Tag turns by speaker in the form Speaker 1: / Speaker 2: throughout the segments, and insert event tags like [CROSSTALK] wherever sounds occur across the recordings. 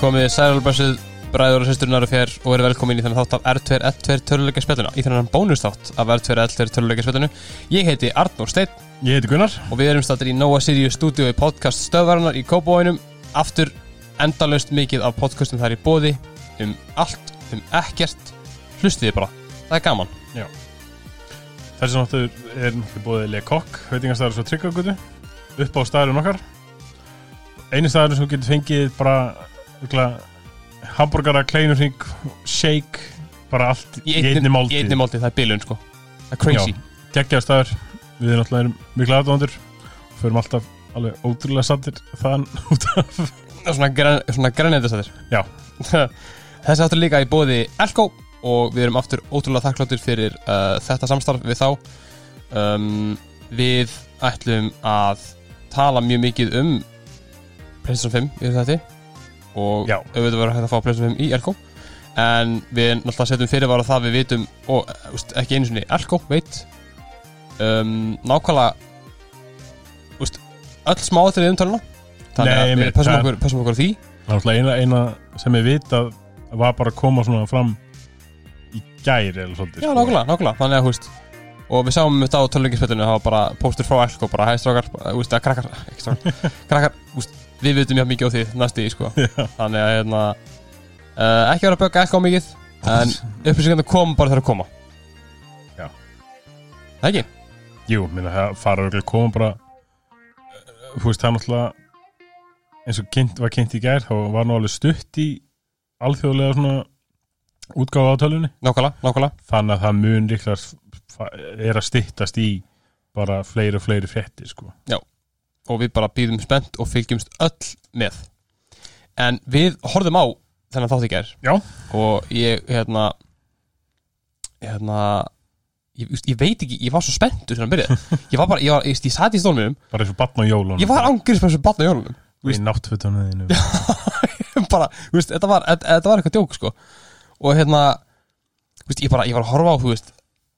Speaker 1: komið sælblessuð bræður og sýsturinnar og fér og verið velkomin í þennan þátt af R2L2 töluleika spjalluna í þennan bónustátt af R2L2 töluleika spjallinu Ég heiti Arnór Steinn
Speaker 2: Ég heiti Gunnar
Speaker 1: og við erum stattir í Nóa Sirius stúdíu í podcast Stöðvarannar í Kópavóinum aftur endalaust mikið af podcastum þar í bóði um allt, um ekkert hlustiði bara, það er gaman
Speaker 2: Þessi náttur er náttúrulega búið Le Coq veitingastæður svo tryggagötu upp á staðurinn okkar einu staðurinn sem þú getur fengið bara ykla, hambúrgara, kleinurring shake, bara allt í einni
Speaker 1: í
Speaker 2: máltíð
Speaker 1: einni málti, það er bilun sko það er crazy
Speaker 2: geggjaður staður, við erum náttúrulega erum mikla aðdóndur förum alltaf alveg ótrúlega sattir þann út af
Speaker 1: Það er svona, græn, svona grænendisættir
Speaker 2: Já.
Speaker 1: [LAUGHS] Þessi aftur líka í bóði Elko og við erum aftur ótrúlega þakkláttir fyrir uh, þetta samstarf við þá um, Við ætlum að tala mjög mikið um PlayStation 5 í þessu þetta og
Speaker 2: Já.
Speaker 1: auðvitað verður hægt að fá PlayStation 5 í Elko en við náttúrulega setjum fyrirvara það við vitum og eh, úst, ekki einu sinni Elko veit um, nákvæmlega úst, öll smáatrið umtalina þannig
Speaker 2: Nei,
Speaker 1: að við
Speaker 2: einmitt,
Speaker 1: passum
Speaker 2: það-
Speaker 1: okkur, passum okkur á því
Speaker 2: náttúrulega eina, eina sem ég vita var bara að koma svona fram í gæri eða svolítið
Speaker 1: Já,
Speaker 2: sko.
Speaker 1: nákvæmlega, nákvæmlega, þannig að húst Og við sáum þetta á tölvingispillinu Það var bara póstur frá Elko, bara hæstrákar Úst, að krakkar, [LAUGHS] ekki strákar Krakkar, úst, við vitum mjög mikið á því næst í, sko
Speaker 2: Já.
Speaker 1: Þannig að, hérna uh, Ekki vera að bögga Elko mikið En upplýsingarna kom bara þegar að koma
Speaker 2: Já.
Speaker 1: Það ekki?
Speaker 2: Jú, minna það fara örgulega að koma bara eh, Þú veist, það er náttúrulega eins og kynnt, var kynnt í gær þá var nú alveg stutt í alþjóðlega svona útgáfa á tölunni
Speaker 1: Nákvæmlega, nákvæmlega
Speaker 2: þannig að það mun líklega s- fa- er að styttast í bara fleiri og fleiri fréttir sko.
Speaker 1: Og við bara býðum spennt og fylgjumst öll með En við horfðum á þennan þátt í gær
Speaker 2: Já,
Speaker 1: og ég hérna hérna ég, ég, ég veit ekki, ég var svo spenntur þegar hann
Speaker 2: [LAUGHS]
Speaker 1: byrjaði ég var bara, ég, var, ég, ég sat í stólnum
Speaker 2: bara eins og batna á jólunum
Speaker 1: ég var ángrið sem þessu batna í jólunum
Speaker 2: í náttfötunum þínu
Speaker 1: bara, þú veist, þetta var, þetta, þetta var eitthvað djók sko. og hérna þú veist, ég, bara, ég var að horfa á, þú veist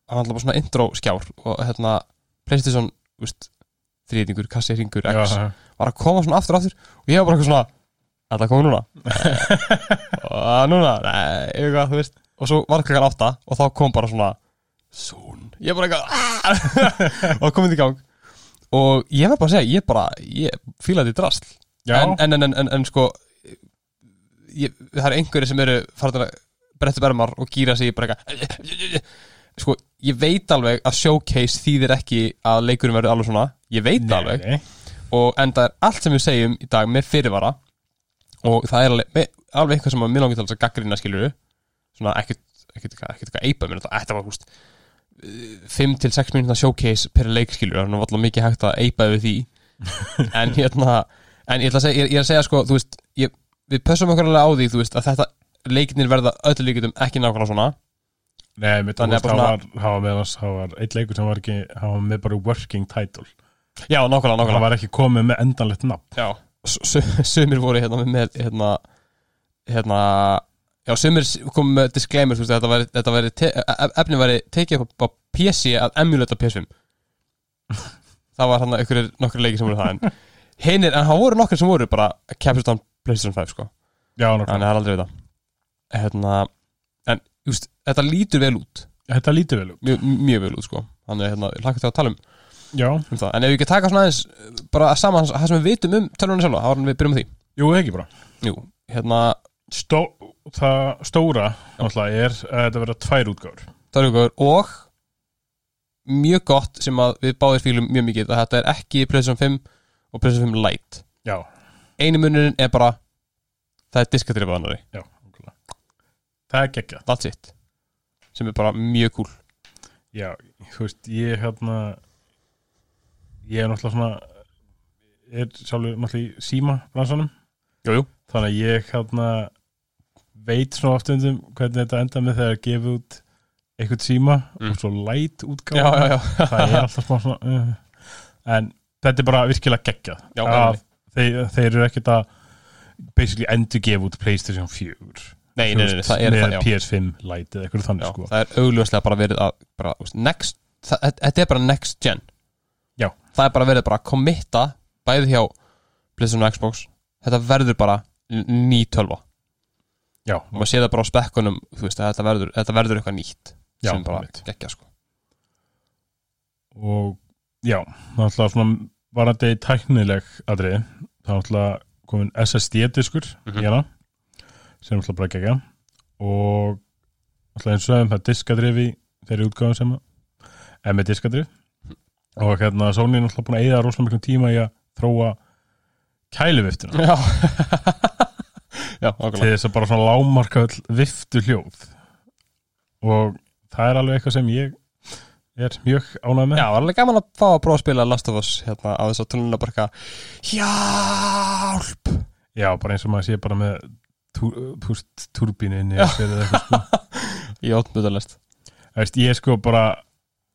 Speaker 1: hann var bara svona intro skjár og hérna, Playstation, þú veist þrýðningur, kassi, hringur,
Speaker 2: Já,
Speaker 1: x
Speaker 2: já.
Speaker 1: var að koma svona aftur og aftur og ég var bara eitthvað svona Þetta kom núna og núna, nei, eitthvað, þú veist og svo var klokkan átta og þá kom bara svona Soon Ég bara eitthvað [LAUGHS] "Ah!" og komið í gang og ég var bara að segja, ég bara ég fílaði í drasl
Speaker 2: Já,
Speaker 1: en, en, en, en, en, en sko ég, það eru einhverjir sem eru farin að bretta upp ermar og gýra sig í bara eitthvað sko, ég veit alveg að showcase þýðir ekki að leikurinn verður alveg svona ég veit það alveg
Speaker 2: nei,
Speaker 1: og enda er allt sem við segjum í dag með fyrirvara og það er alveg, með, alveg eitthvað sem að mér langar til að gaggrina skilur svona ekkert ekkert eitthvað- ekkert eitthvað eipa mér þetta var eh, húst 5-6 minúta showcase per leik skilur þannig var alltaf mikið hægt að eipa við því en hérna en ég, ætla að segja, ég, ég er að segja sko þú veist ég, við pössum okkur alveg á því þú veist að þetta leikinir verða öllu líkundum ekki nákvæmlega svona
Speaker 2: nei mitt,
Speaker 1: Þannig
Speaker 2: það,
Speaker 1: að bara
Speaker 2: var, það var með það var eitt leikur sem var ekki, það var með bara working title,
Speaker 1: já nákvæmlega
Speaker 2: það
Speaker 1: nákvæmlega
Speaker 2: var ekki komið með endanlegt nafn
Speaker 1: Já, sumir voru hérna með hérna, hérna Já, sumir komum með disclaimer þú veist, þetta væri, þetta væri te- e- efni væri tekið upp á PC að emulata PS5 Það var hann að nokkri leiki sem voru það en hinir, en það voru nokkri sem voru bara Capture on PlayStation 5 sko
Speaker 2: Já, nákvæmlega.
Speaker 1: Þannig að það er aldrei þetta hérna, En, just, þetta lítur vel út
Speaker 2: Þetta lítur vel út.
Speaker 1: mjög, mjög vel út sko Þannig að hérna, hlaka til að tala um,
Speaker 2: Já.
Speaker 1: um það En ef við ekki taka svona aðeins eh, bara saman það sem við vitum um tölunum sjálfa, þá erum við byrjum á því
Speaker 2: Jú, ekki bara.
Speaker 1: Jú, hérna
Speaker 2: Stó, það stóra, náttúrulega, er að þetta verða tvær útgáður.
Speaker 1: Dörfugur og mjög gott sem að við báðir fílum mjög mikið að þetta er ekki PlayStation 5 og PlayStation 5 Lite
Speaker 2: Já.
Speaker 1: einu munurinn er bara það er diskatrifað annari,
Speaker 2: Já, nákvæmlega. Það er geggjað.
Speaker 1: that's it sem er bara mjög cool
Speaker 2: Já, þú veist, ég hérna, ég er náttúrulega svona, er sjálfur náttúrulega í síma bransanum,
Speaker 1: Jújú,
Speaker 2: þannig að ég hérna veit svona oftundum hvernig þetta enda með þegar að gefa út eitthvað síma
Speaker 1: Mm.
Speaker 2: og svo light útgáð.
Speaker 1: já, já, [LAUGHS] já
Speaker 2: það er alltaf smá svona uh. en þetta er bara virkilega geggjað
Speaker 1: Já,
Speaker 2: Að þeir, þeir eru ekkert að basically endur gefa út Playstation 4
Speaker 1: Nei, nei, nei, nei, það er
Speaker 2: með
Speaker 1: það, já,
Speaker 2: PS5 Lite eða eitthvað þannig
Speaker 1: já
Speaker 2: sko
Speaker 1: Það er augljóslega bara verið að bara, þú veist, next, það, þetta- þetta er bara next gen
Speaker 2: Já.
Speaker 1: Það er bara verið bara að committa bæði hjá PlayStation og Xbox þetta verður bara ný tölva
Speaker 2: já,
Speaker 1: og maður sé það bara á spekkunum þú veist, að þetta verður, þetta verður eitthvað nýtt
Speaker 2: já,
Speaker 1: sem bara
Speaker 2: einmitt.
Speaker 1: geggja sko
Speaker 2: og já, náttúrulega svona varandi tæknileg atrið þá náttúrulega komin SSD-diskur
Speaker 1: Mhm.
Speaker 2: í hana hérna, sem náttúrulega bara gegja og náttúrulega eins og það það er diskadrif í þeirri útgáðum sem er með diskadrif og hérna Sony er náttúrulega búin að eyða rosalega miklum tíma í að þróa kæluviftuna
Speaker 1: já [LAUGHS] já, okkurlega
Speaker 2: til þess að bara svona lámarka öll viftu hljóð og það er alveg eitthvað sem ég er mjög ánægð með
Speaker 1: já, var alveg gaman að fá að prófa að spila Last of Us hérna á þess að tónluna bara eitthvað hjálp
Speaker 2: Já, bara eins og maður sé bara með tú- þú veist, túrbínu inni
Speaker 1: Já.
Speaker 2: eða fyrir eitthvað, sko.
Speaker 1: í óttmjöðalest
Speaker 2: Þú veist, ég er sko bara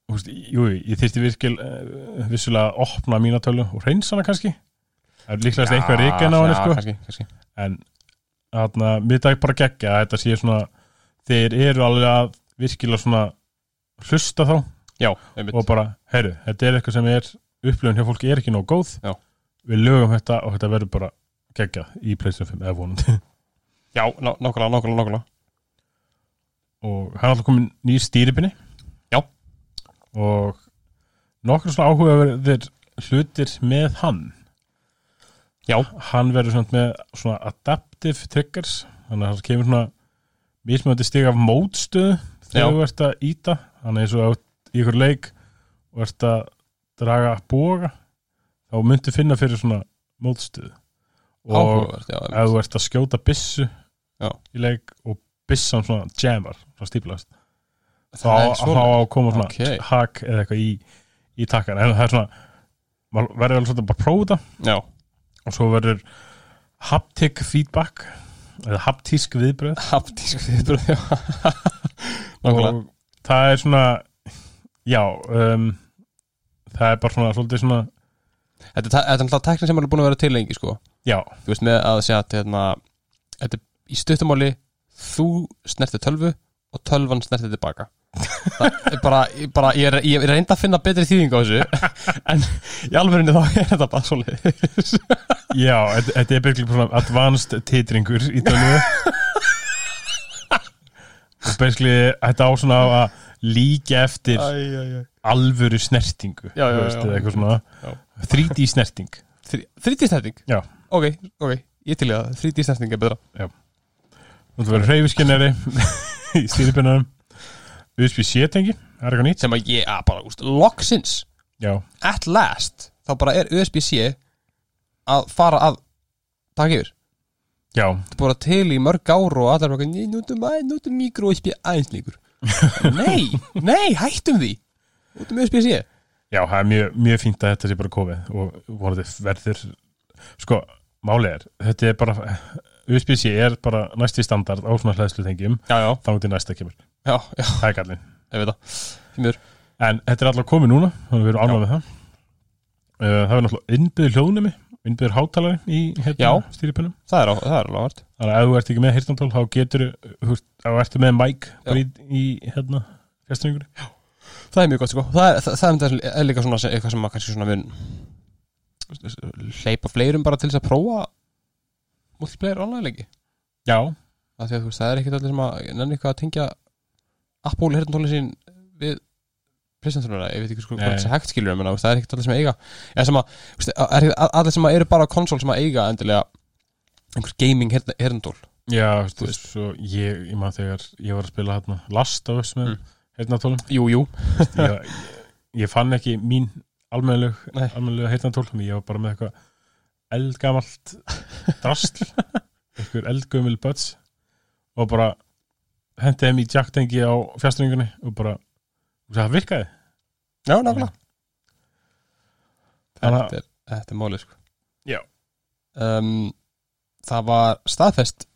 Speaker 2: þú veist, jú, jú, ég þyrfti virkil eh, vissulega að opna mína tölu og reynsa hana kannski það er líklegast eitthvað reikin á henni sko.
Speaker 1: kannski, kannski.
Speaker 2: en þarna, mitt að bara gegja að þetta sé svona þeir eru alveg að virkilega svona hlusta þá
Speaker 1: já, einmitt
Speaker 2: og bara, herru, þetta er eitthvað sem er upplifun hjá fólki er ekki nóg góð
Speaker 1: Já.
Speaker 2: við lögum þetta og þetta verður bara gegja í Playstation 5 eða vonandi [LAUGHS]
Speaker 1: já, ná- nákvæmlega, nákvæmlega, nákvæmlega
Speaker 2: og hann er alltaf komin nýr stýripinni
Speaker 1: Já.
Speaker 2: og nokkur svona áhugaverðir hlutir með hann
Speaker 1: Já.
Speaker 2: hann verður svona með svona adaptive triggers þannig að hann kemur svona mismöndi stig af mótstöðu
Speaker 1: Já.
Speaker 2: þegar þú ert að íta hann er eins og át í ykkur leik og ert að draga boga þá myndu finna fyrir svona mótstöðu og
Speaker 1: áhugavert, já, einmitt.
Speaker 2: ef þú ert að skjóta byssu
Speaker 1: Já.
Speaker 2: í leik og byssan svona jammar, svona stíplast þá
Speaker 1: Það er
Speaker 2: á- þá
Speaker 1: svona.
Speaker 2: á að koma svona
Speaker 1: Ókei.
Speaker 2: hak eða eitthvað í, í takkan en það er svona, maður verður alveg svona bara að prófa þetta
Speaker 1: já,
Speaker 2: og svo verður haptic feedback eða haptísk viðbröð
Speaker 1: haptísk viðbröð já. [LAUGHS] nákvæmlega,
Speaker 2: og það er svona já um, það er bara svona svolítið svona
Speaker 1: þetta er ta- þetta er alltaf teknir sem er búin að vera til lengi sko
Speaker 2: já,
Speaker 1: þú veist með að segja að hérna, þetta er í stuttumáli þú snerti tölvu og tölvan snerti tilbaka það er bara, ég, bara ég, er, ég er reynd að finna betri þýðing á þessu [LAUGHS] en í alvörinu þá er þetta bara svo leiðis
Speaker 2: já, þetta- þetta er byrglega svona advanced titringur í tölvu og basically þetta á svona að líka eftir alvöru snertingu
Speaker 1: Já, já, já.
Speaker 2: þú eða eitthvað svona
Speaker 1: Já.
Speaker 2: 3D snerting
Speaker 1: 3D snerting?
Speaker 2: Já.
Speaker 1: ok, ok, ég til ég að 3D snerting er betra
Speaker 2: þú verður hreyfiskennari [LAUGHS] í stýripinnanum USB-C tengi, það er eitthvað nýtt
Speaker 1: sem að ég, að bara, úst, loksins
Speaker 2: já,
Speaker 1: at last, þá bara er USB-C að fara að taka yfir
Speaker 2: já,
Speaker 1: þetta búið að til í mörg ár og allar bara, nei, nútum, nútum mikro USB aðeins [LAUGHS] líkur nei, nei, hættum því um nútum USB-C
Speaker 2: já, það er mjög, mjög fínt að þetta sé bara kofið og vonandi verður sko, málið er þetta er bara, USB-C er bara næsti standard á svona hlæðslu tengjum
Speaker 1: já, já,
Speaker 2: þá til næsta kemur,
Speaker 1: já, já,
Speaker 2: það er gallin
Speaker 1: ég veit það því miður,
Speaker 2: en þetta er allavega komið núna þannig að við erum ánægð með það Uh, það er náttúrulega innbyður hljóðnemi innbyður hátalari í hérna,
Speaker 1: Já.
Speaker 2: stýripinnum
Speaker 1: það er, á, það er alveg ávært
Speaker 2: Þannig að ef þú ert ekki með hirtantól þá getur þá ertu með mæk bara í, í hérna fjastingur
Speaker 1: það er mjög gott, sko, það er, það, það er, það er, líka svona sem- eitthvað sem maður kannski svona mun hleypa fleirum bara til þess að prófa multiplayer online leiki
Speaker 2: Já,
Speaker 1: af því að þú veist, það er ekkert allir sem að nenni eitthvað að tengja Apple hirtantóli sín við presenturnara, ég veit ekki sko
Speaker 2: Nei.
Speaker 1: hvað þessi hægt skilur ég meina, þú veist, það er ekkert allir sem að eiga eða sem að, þú veist, það er ekkert allir sem að eru bara á konsól sem að eiga endilega einhvers gaming hirtantól
Speaker 2: já, þú veist svo ég, ég maður þegar ég var að spila hérna last af þess með
Speaker 1: Mm.
Speaker 2: mm. [LAUGHS] hirtantólum
Speaker 1: Jú, jú,
Speaker 2: ég, ég fann ekki mín almennleg
Speaker 1: Nei.
Speaker 2: almennlega hirtantól ég var bara með eitthvað eldgamalt drastl [LAUGHS] eitthvað eldgömmil buds og bara hendi þeim í jacktengi á fjastingunni og bara, það virkaði
Speaker 1: já, nákvæmlega
Speaker 2: Þannig
Speaker 1: þetta, er- þetta er málið sko
Speaker 2: Já.
Speaker 1: um, Það var staðfest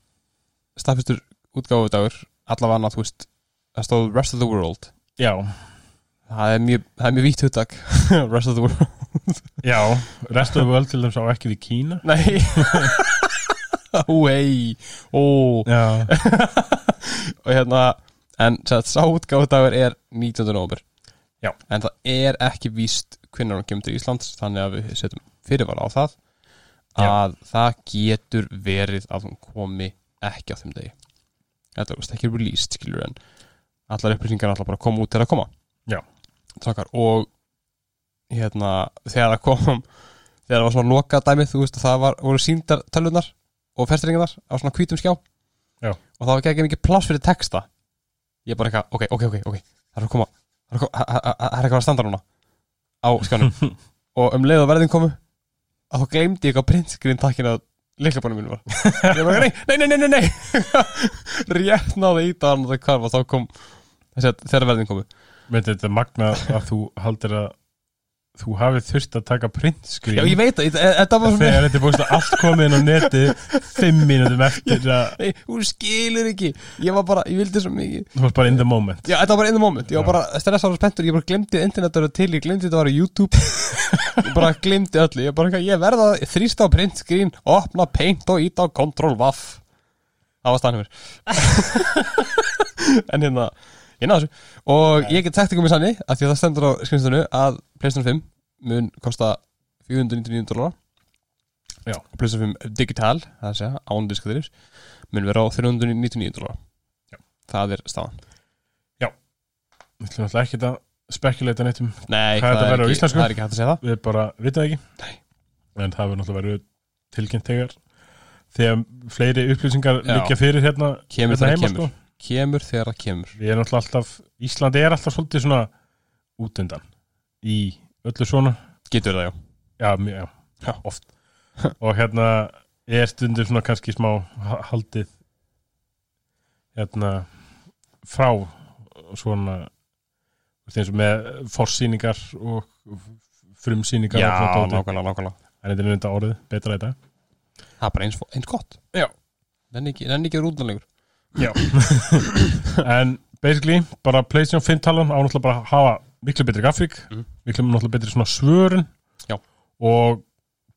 Speaker 1: staðfestur útgáfudagur allavega annað, þú veist, það stóð Rest of the World
Speaker 2: Já,
Speaker 1: það er mjög, það er mjög vítt hugtak [LAUGHS] Rest of the World
Speaker 2: já, restu af öll til þess á ekki við [LAUGHS] Kína
Speaker 1: [LAUGHS] Nei Úi, ó
Speaker 2: Já,
Speaker 1: Og hérna, en sem sagt, sá útgáðdagur er 19. november
Speaker 2: Já.
Speaker 1: En það er ekki víst hvenær hún kemur til Íslands Þannig að við setjum fyrirvara á það
Speaker 2: Já.
Speaker 1: Að það getur verið að hún komi ekki á þeim degi þetta er veist, ekki released skilur en allar upplýsingar allar bara koma út þegar að koma
Speaker 2: Já.
Speaker 1: Takar, og hérna þegar það kom þegar það var svona loka dæmið þú veist að það var, voru síndar tölunar og festringarnar á svona hvítum skjá
Speaker 2: Já.
Speaker 1: og það var ekki mikið pláss fyrir texta ég bara eitthvað, ok, ok, ok, ok það er að koma, það er að koma- það- það- það er eitthvað að standa núna á skjánum og um leið að verðin komu að þá gleymdi ég eitthvað printscreen takkin að lyklabónum mínu var ég bara, nei, nei, nei, nei, nei, nei [LAUGHS] rétt náði í það og það hvarf og þá kom þessi að þegar verðin komu
Speaker 2: Með þetta magna að þú haldir að þú hafið þurft að taka
Speaker 1: já,
Speaker 2: printscreen
Speaker 1: ég veit það, ég- þetta var
Speaker 2: [LAUGHS]
Speaker 1: svona
Speaker 2: þegar þetta er búinst að allt komið inn á netið fimm mínútum eftir að
Speaker 1: nei, hún skilur ekki, ég var bara, ég vildi svo mikið
Speaker 2: þú varst bara in the moment
Speaker 1: Já, þetta var bara in the moment, ég var
Speaker 2: Já.
Speaker 1: bara stressar og spenntur, ég bara glemdi internet eru til, ég glemdi þetta var á
Speaker 2: [LAUGHS]
Speaker 1: YouTube Ég bara glemdi öllu, ég bara, eitthvað, ég verða að þrýsta á print screen, opna paint og íta á control vaff Það var
Speaker 2: [LAUGHS]
Speaker 1: stannumur En hérna, ég náðu þessu Og ég get sagt ykkur mér sannig, að því að það stendur á skrifstunum að PlayStation 5 mun kosta 499 dólar
Speaker 2: Já.
Speaker 1: Og PlayStation 5 digital, það er að segja, án diskaðir mun vera á 399 dólar
Speaker 2: Já.
Speaker 1: Það er staðan
Speaker 2: Við ætlum alltaf ekki að spekuleita neitt um
Speaker 1: Nei,
Speaker 2: Hvað er þetta að vera á
Speaker 1: ekki,
Speaker 2: íslensku?
Speaker 1: það er ekki hægt að segja það
Speaker 2: við bara vitum það ekki en það verður náttúrulega verið tilkynnt þegar þegar fleiri upplýsingar
Speaker 1: Já.
Speaker 2: liggja fyrir hérna,
Speaker 1: Kemur
Speaker 2: hérna
Speaker 1: þegar kemur. Kemur þegar það kemur
Speaker 2: við erum náttúrulega alltaf, Íslandi er alltaf svolítið svona út undan í öllu svona
Speaker 1: Getur það, já
Speaker 2: já, mjög- já,
Speaker 1: Já.
Speaker 2: oft og hérna er stundur svona kannski smá ha- haldið hérna frá svona þú veist, eins og með forsýningar og frumsýningar og svona dóti.
Speaker 1: nákvæmlega, nákvæmlega
Speaker 2: en þetta er auðvitað orðið betra í dag
Speaker 1: Það er bara eins, eins gott
Speaker 2: Já.
Speaker 1: Nenni ekki, nenni ekki rúðanlegur
Speaker 2: en basically bara PlayStation 5 talan á náttúrulega bara að hafa miklu betri grafík,
Speaker 1: Mhm.
Speaker 2: miklu náttúrulega betri svona svörun
Speaker 1: Já.
Speaker 2: og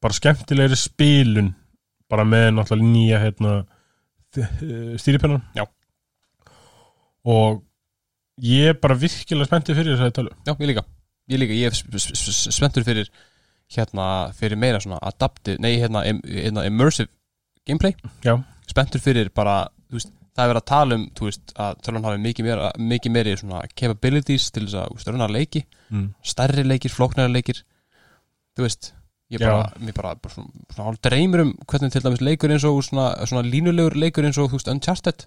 Speaker 2: bara skemmtilegri spilun bara með náttúrulega nýja hérna, stýripennan
Speaker 1: Já.
Speaker 2: og ég er bara virkilega spenntið fyrir þessari tölu
Speaker 1: Já, ég líka Ég líka, ég er sp- sp- sp- spenntur fyrir hérna, fyrir meira svona adaptive, nei, hérna, im, hérna immersive gameplay
Speaker 2: Já.
Speaker 1: Spenntur fyrir bara, þú veist, það er verið að tala um, þú veist, að tölvan hafi mikið meira, mikið meiri svona capabilities til þess að, þú veist, raunar leiki
Speaker 2: mm.
Speaker 1: stærri leikir, flóknari leikir þú veist ég bara, mér bara, bara svona, svona hálf dreymir um hvernig til dæmis leikur eins og svona, svona línulegur leikur eins og þú veist Uncharted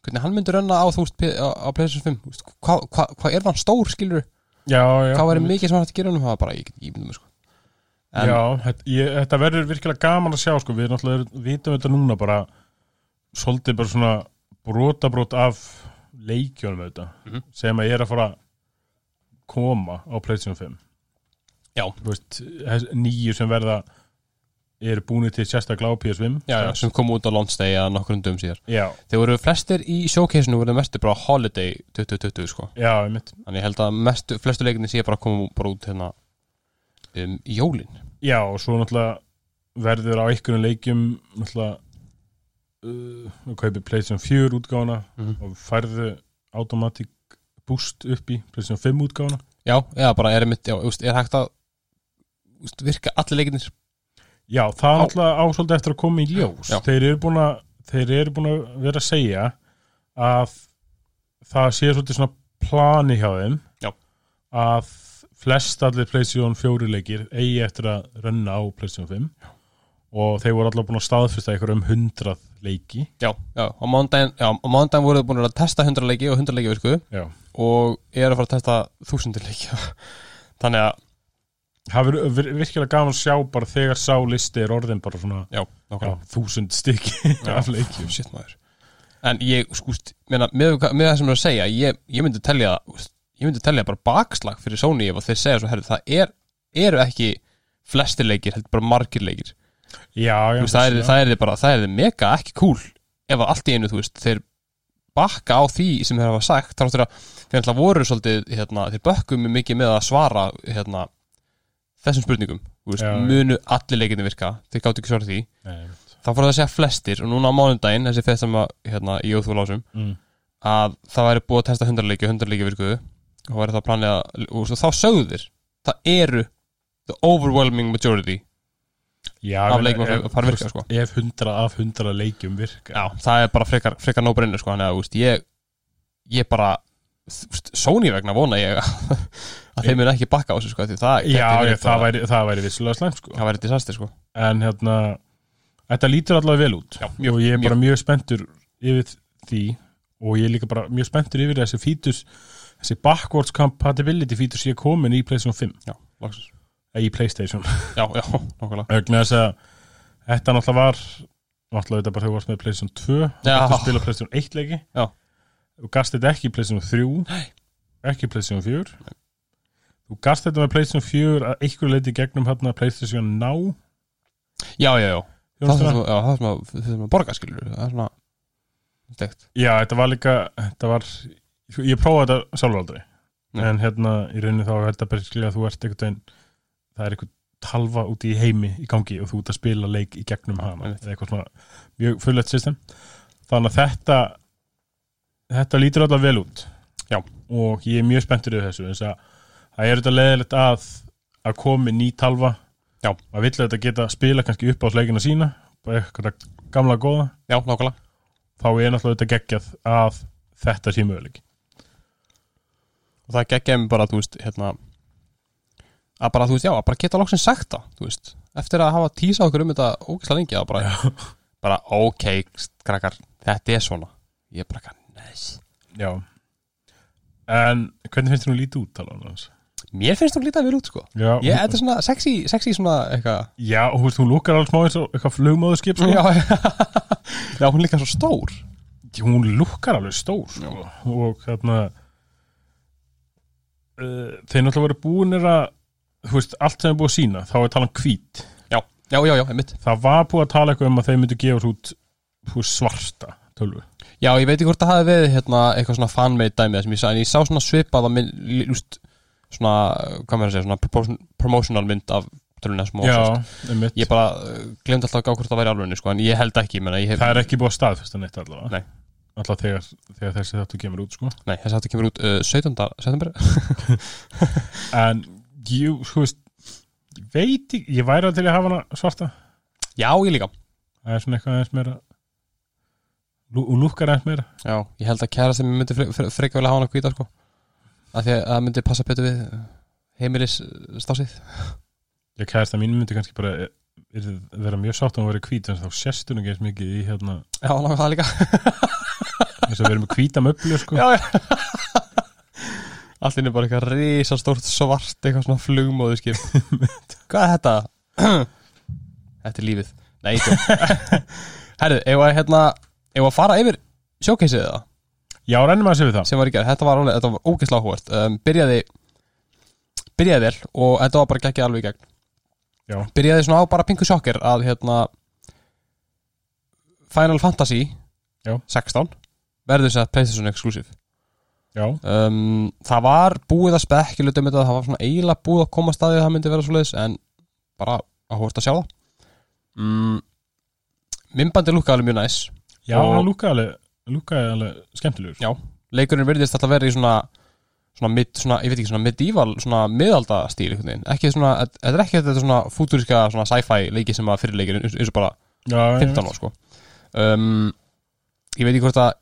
Speaker 1: hvernig hann myndur önna á þú veist P- á, á PlayStation 5, þú veist, hvað hva, hva er hann stór skilur,
Speaker 2: já, já,
Speaker 1: hvað væri mikið sem hann hægt að gera um það var bara, ég get ímyndum sko. en
Speaker 2: já þetta, ég, þetta verður virkilega gaman að sjá sko. við náttúrulega erum- vitum þetta núna bara svolítið bara svona brotabrót af leikjónum auðvitað
Speaker 1: Mhm.
Speaker 2: sem að ég er að fara að koma á Playstation 5
Speaker 1: Já.
Speaker 2: Þú veist, þess- nýju sem verða eru búinu til sérstaklega á PS5
Speaker 1: já, já, sem kom út á launch day að nokkrum dögum síðar
Speaker 2: já,
Speaker 1: þeir voru flestir í showcase-nú voru mestu bara holiday 2020 sko
Speaker 2: já, einmitt.
Speaker 1: þannig ég held að mestu, flestu leikinni sé bara að koma bara út hérna um jólin
Speaker 2: já, og svo náttúrulega verður á einhvern leikjum náttúrulega uh, að kaupi Playstation 4 útgáfuna
Speaker 1: Mhm.
Speaker 2: og færðu automatic boost upp í Playstation 5 útgáfuna
Speaker 1: Já, já, bara er, mitt, já, úst, er hægt að úst, virka allir leikinir
Speaker 2: Já, það
Speaker 1: Á-
Speaker 2: er alltaf ásvöldi eftir að koma í ljós
Speaker 1: Já.
Speaker 2: þeir eru, búin að, þeir eru búin að vera að segja að það sé svolítið svona plani hjá þeim
Speaker 1: Já.
Speaker 2: að flest allir Playstation 4 leikir eigi eftir að renna á Playstation 5 Já. og þeir voru alltaf búin að staðfesta ykkur um 100 leiki
Speaker 1: Já, já, á mándaginn, já, á mándaginn voru þau búin að testa 100 leiki og 100 leiki virku
Speaker 2: Já.
Speaker 1: og ég er að fara að testa 1000 leiki [LAUGHS] þannig að,
Speaker 2: Það verður vir- virkilega gaman að sjá bara þegar sá listi er orðin bara svona
Speaker 1: já,
Speaker 2: já,
Speaker 1: nákvæmlega
Speaker 2: þúsund stykki
Speaker 1: Já.
Speaker 2: af leikjum
Speaker 1: Shit maður En ég, skúst, meina, með, með það sem ég er að segja ég, ég myndi telja, úst, ég myndi telja bara bakslag fyrir Sony ef að þeir segja svo herri, það er, eru ekki flesti leikir, heldur bara margir leikir
Speaker 2: Já, já,
Speaker 1: Þú veist, það er,
Speaker 2: já.
Speaker 1: það er bara, það er mega ekki cool ef að allt í einu, þú veist, þeir bakka á því sem þeir hafa sagt þar áttur að þeir alltaf voru svolítið hérna, þeir bökkum mjög mikið með að svara hérna, þessum spurningum þú veist,
Speaker 2: Já, já.
Speaker 1: munu allir leikinni virka þeir gátt ekki svara því,
Speaker 2: Nei, einmitt.
Speaker 1: þá fór það að segja flestir og núna á mánudaginn, þessi fyrst sem að hérna, í óþúlásum,
Speaker 2: mm.
Speaker 1: að það væri búið að testa 100 leiki og 100 leiki virkuðu og væri það planlega, og svo þá sögðu þeir það eru the overwhelming majority
Speaker 2: Já,
Speaker 1: af
Speaker 2: en
Speaker 1: leikjum
Speaker 2: ef-
Speaker 1: að fara að virka, sko.
Speaker 2: Ef 100 af 100 leikjum virka
Speaker 1: Já, það er bara frekar, frekar nóbrennur sko, þannig að, þú veist, ég ég bara, þú veist, Sony vegna vona ég að [LAUGHS] þeim mun ekki bakka á þessu, sko, því það gæti
Speaker 2: Já,
Speaker 1: verið
Speaker 2: ég, það,
Speaker 1: bara-
Speaker 2: væri, það væri vissulega slæmt sko.
Speaker 1: það væri disaster, sko.
Speaker 2: En hérna, þetta lítur allavega vel út
Speaker 1: Já, mjög-
Speaker 2: Og ég er bara mjög spenntur yfir því Og ég er líka bara mjög spenntur yfir þessi features Þessi backwards compatibility features ég er komin í Playstation 5
Speaker 1: Já, loksins.
Speaker 2: eh, Í Playstation
Speaker 1: Já, já, [LAUGHS] nokkulega.
Speaker 2: Ögnu þess að þetta náttúrulega var Náttúrulega þetta bara þegar þú varst með Playstation 2 og
Speaker 1: Já.
Speaker 2: gættu að spila Playstation 1 leiki
Speaker 1: Já.
Speaker 2: Þú gast þetta ekki í Playstation 3 Nei. Ekki í Playstation 4 Þú gast þetta með Playstation 4 að einhverju leiti gegnum hérna Playstation Now
Speaker 1: Já, já, já. Það
Speaker 2: þjónustuna.
Speaker 1: þarf að, það þarf að, það þarf að borga, skilur, það er svona, stegt.
Speaker 2: Já, þetta var líka þetta var, sko, ég prófaði þetta sjálfur aldrei
Speaker 1: Nei.
Speaker 2: en hérna í rauninni þá er þetta bara skilja að þú ert einhvern veginn það er einhvern talva úti í heimi í gangi og þú ert að spila leik í gegnum hana
Speaker 1: Einmitt.
Speaker 2: eða eitthvað svona mjög fullett system þannig að þetta þetta lítur alltaf vel út
Speaker 1: Já.
Speaker 2: og ég er mjög spenntur yfir þessu eins að það er þetta leðilegt að að komi ný talva
Speaker 1: Já.
Speaker 2: að vilja þetta geta spila kannski upp á sleikina sína bara eitthvað gamla góða
Speaker 1: Já, nákvæmlega.
Speaker 2: þá er náttúrulega þetta geggjað að þetta sé möguleik
Speaker 1: Og það geggja mér bara, þú veist, hérna, að bara, þú veist, já, að bara geta loksins sagt það, þú veist, eftir að hafa tísað okkur um þetta ógislega lengi, það bara, bara, ok, krakkar, þetta er svona. Ég er bara, eitthvað, nice.
Speaker 2: Já En hvernig finnst þér hún lítið út talan hans?
Speaker 1: Mér finnst hún lítið vel út sko
Speaker 2: Já,
Speaker 1: Ég,
Speaker 2: hún,
Speaker 1: þetta er svona sexy, sexy svona eitthvað
Speaker 2: já og þú veist, hún lukkar alls má eins og eitthvað flugmóðurskip sko.
Speaker 1: Já, já, hún er líka svo stór
Speaker 2: Hún lukkar alveg stór sko. og þarna uh, þeir náttúrulega voru búinir að þú veist, allt sem er búið að sína þá er talan hvít
Speaker 1: Já, já, já, já, einmitt
Speaker 2: það var búið að tala eitthvað um að þeir myndu gefa svo út þú veist, svarta tölvu
Speaker 1: Já, ég veit ekki hvort það hafi verið hérna eitthvað svona fanmade dæmið sem ég sá en ég sá svona svipað að minn, lúst svona, hvað maður að segja, svona promotion- promotional mynd af tölunni sem hún var sást.
Speaker 2: um
Speaker 1: Ég bara uh, glemd alltaf að gá hvort það væri alveg sko en ég held ekki, ég menna, ég hef
Speaker 2: það er ekki búið að staðfesta neitt allavega
Speaker 1: Nei.
Speaker 2: Alltaf þegar, þegar þessi þáttu kemur út sko.
Speaker 1: Nei, þess að þetta kemur út uh, 17. september
Speaker 2: En ég, þú veist ég veit ekki, ég væri alveg til að hafa hana svarta
Speaker 1: Já, ég líka
Speaker 2: Það er svona eitthvað aðeins meira Lú, og lúkkar aðeins meira
Speaker 1: Já, ég held að kæra sem myndi fre- fre- frekar vel að hafa hana hvíta sko af því að það myndi passa betur við uh, heimilis uh, stásið
Speaker 2: Ég kæðist að mín myndi kannski bara er, vera mjög sátt að hún verið hvít en þá sérst hún ekki eins mikið í hérna
Speaker 1: Já, langar það líka
Speaker 2: þess að vera með hvíta möblu sko.
Speaker 1: Já, já Allt inni bara eitthvað risastórt svart eitthvað svona flugmóðu [LAUGHS] skip Hvað er þetta? [CLEARS THROAT] þetta er lífið Nei, ekki [LAUGHS] Herðu, ef að hérna ef að fara yfir sjókeisið það
Speaker 2: Já, rennum að séu við það
Speaker 1: sem var í gerð, þetta var alveg, þetta var ógeðslega áhugast um, byrjaði byrjaði vel og þetta var bara gekkið alveg í gegn
Speaker 2: Já.
Speaker 1: byrjaði svona á bara pingu sjokker að hérna Final Fantasy
Speaker 2: Já.
Speaker 1: 16 verður þess að Playstation exclusive
Speaker 2: Já,
Speaker 1: um, það var búið að spekja lutum þetta, það var svona eiginlega búið að koma staðið að það myndi vera svoleiðis en bara áhugast að sjá það mm, minnbandi lukkaði alveg mjög næs
Speaker 2: já
Speaker 1: Og-
Speaker 2: hann lúkkaði alveg, lúkkaði alveg skemmtilegur
Speaker 1: Já. leikurinn virðist alltaf verið í svona svona, mid, svona ég veit ekki, svona medieval svona miðalda stíl einhvern veginn ekki svona, þetta er ekki þetta svona fúturiska svona sci-fi leiki sem að fyrirleikir eins eins og bara
Speaker 2: já
Speaker 1: 15 ár sko um, ég veit ekki hvort að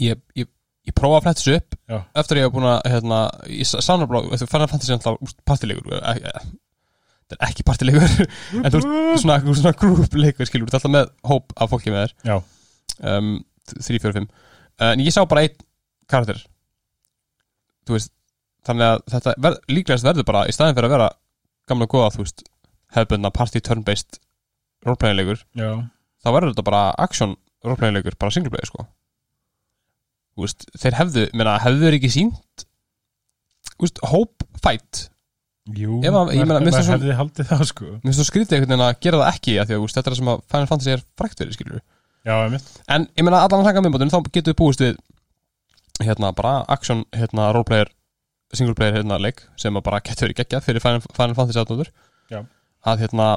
Speaker 1: ég, ég, ég prófa að fletta þessu upp
Speaker 2: Já.
Speaker 1: eftir að ég hef búin að hérna, ég sannarblá, eftir fann að fantasy er alltaf partileikur e- e- þetta er ekki partileikur [LAUGHS] en þú ert svona, svona grúpleikur skilur, þú ert alltaf með hóp af fólki með þér
Speaker 2: Já,
Speaker 1: um, 3, 4, 5 en ég sá bara einn karakter þú veist þannig að þetta ver, líklegast verður bara í staðin fyrir að vera gamla góða þú veist hefðbundna party turn-based roleplayingleikur,
Speaker 2: já,
Speaker 1: þá verður þetta bara action roleplayingleikur, bara singleplayer sko þú veist, þeir hefðu menna, hefðu þeir ekki sínt þú veist, hope fight
Speaker 2: jú
Speaker 1: Ef að- ég meina,
Speaker 2: maður-
Speaker 1: mér finnst
Speaker 2: maður
Speaker 1: það
Speaker 2: hefði haldið það sko
Speaker 1: mér finnst þú skrítið einhvern veginn að gera það ekki af því að þú veist, þetta er það sem að Final Fantasy er frækt fyrir skilur
Speaker 2: Já, emitt,
Speaker 1: En ég meina allan að sanga minnbóttunum þá getum við búist við hérna bara action hérna roleplayer singleplayer hérna leik sem að bara getur verið geggjað fyrir Final, Final Fantasy aðnóður
Speaker 2: Já.
Speaker 1: að hérna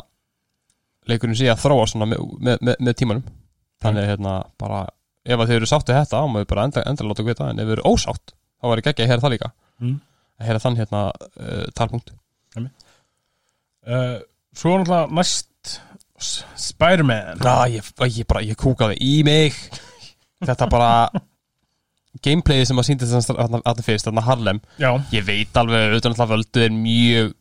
Speaker 1: leikurinn sé að þróa svona með, með, með, með tímanum þannig að hérna bara ef að þið eru sáttu þetta þá maður bara enda, enda láta hvita en ef þið eru ósátt þá væri geggjað að heyra það líka
Speaker 2: Mm.
Speaker 1: að heyra þann hérna uh, talpunkt
Speaker 2: Uh, Eh, svo náttúrulega næst Spider-Man
Speaker 1: Ná, ég, ég bara, ég kúkaði í [LAUGHS] mig Þetta bara Gameplayið sem að sýndi þarna þarna fyrst, þarna Harlem
Speaker 2: Já,
Speaker 1: Ég veit alveg, auðvitað náttúrulega völdu er mjög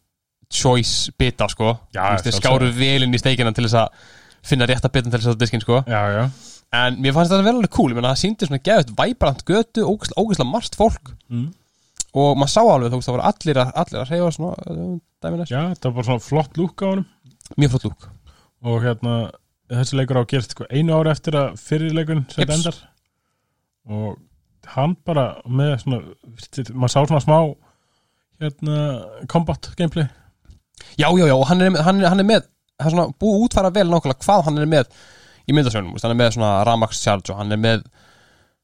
Speaker 1: choice bita, sko
Speaker 2: Já,
Speaker 1: Þú veist, Þeir
Speaker 2: sjálfsögðu.
Speaker 1: skáru vel inn í steikina til þess að finna rétta bitan til þess að diskin, sko
Speaker 2: já, já
Speaker 1: En mér fannst þetta vel alveg cool, ég meina það sýndi svona geðut væbrant götu, ógæslega, ógæslega margt fólk
Speaker 2: Mm.
Speaker 1: Og maður sá alveg, þú veist, það voru allir að, allir að reyfa svona uh, dæmi næst
Speaker 2: Já, það var bara svona flott lúk á honum
Speaker 1: Mjög flott lúk
Speaker 2: og hérna þessi leikur á að gerst sko, einu ári eftir að fyrir leikun sem þetta
Speaker 1: Jeps.
Speaker 2: endar og hann bara með svona, maður sá svona smá hérna, combat gameplay
Speaker 1: Já, já, já, og hann er, hann er, hann er með það er svona búið að útfæra vel nákvæmlega hvað hann er með í myndasjónum, veist, hann er með svona Ramax Charge og hann er með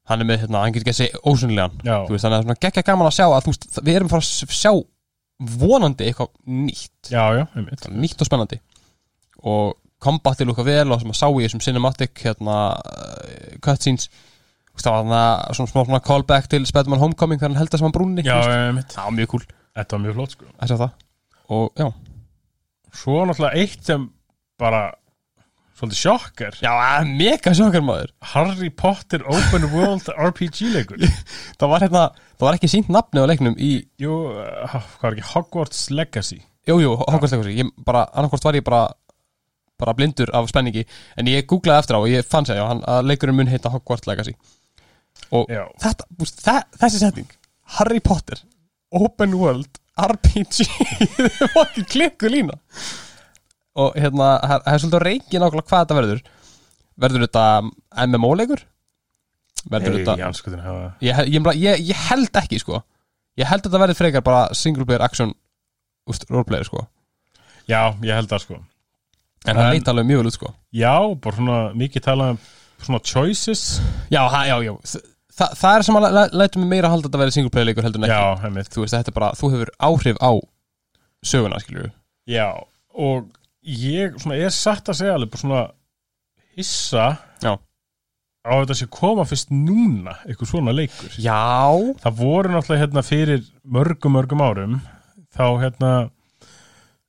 Speaker 1: hann er með, hérna, hann getur ekki að segja ósynlegan
Speaker 2: Já,
Speaker 1: þú veist, þannig að svona geggja gaman að sjá að þú veist, það- við erum að fara að s- sjá vonandi eitthvað nýtt,
Speaker 2: já, já, einmitt
Speaker 1: Bara nýtt og spennandi og kombatið lúka vel og sem að sá í þessum cinematic hérna, eh, cutscenes þú veist, það var þarna svona smá svona callback til Spiderman Homecoming þegar hann heldast sem hann brúnni
Speaker 2: Já,
Speaker 1: þú veist.
Speaker 2: einmitt,
Speaker 1: það var mjög cool
Speaker 2: þetta var mjög flott sko
Speaker 1: að sjá það og já,
Speaker 2: Svo náttúrulega eitt sem bara svolítið sjokk er
Speaker 1: já, mega sjokkar maður
Speaker 2: Harry Potter Open World [LAUGHS] RPG leikur
Speaker 1: það var hérna, það var ekki sínt nafni á leiknum í,
Speaker 2: Jú, uh, hvað er ekki, Hogwarts Legacy
Speaker 1: jújú, jú, Hogwarts leikhúsi ég bara, annarkvort var ég bara bara blindur af spenningi, en ég googlaði eftir á og ég fann sér, já, hann, að leikurinn mun heita Hogwarts Legacy og
Speaker 2: Já.
Speaker 1: þetta, búst, þe þessi setning Harry Potter, Open World RPG, [LAUGHS] það var ekki klikku lína og hérna, það það er svolítið að reyngi nákvæmlega hvað þetta verður verður þetta MMO leikur verður
Speaker 2: Hey,
Speaker 1: þetta
Speaker 2: í andskotin hafa
Speaker 1: ég, ég, ég, ég held ekki sko ég held að það verði frekar bara single player action úst, roleplayer sko
Speaker 2: Já, ég held það sko
Speaker 1: en það
Speaker 2: En-
Speaker 1: leit alveg mjög vel út sko
Speaker 2: Já, bara svona mikið talað um svona choices
Speaker 1: já, ha, já, já Þa, það er sem að læ- lætur mig meira að halda að þetta verði single player leikur heldur en ekki
Speaker 2: Já, einmitt
Speaker 1: þú veist þetta er bara, þú hefur áhrif á söguna skilur
Speaker 2: Já, og ég svona, er satt að segja alveg bara svona hissa
Speaker 1: Já.
Speaker 2: á þetta sé koma fyrst núna eitthvað svona leikur
Speaker 1: já,
Speaker 2: Það voru náttúrulega hérna fyrir mörgum, mörgum árum þá hérna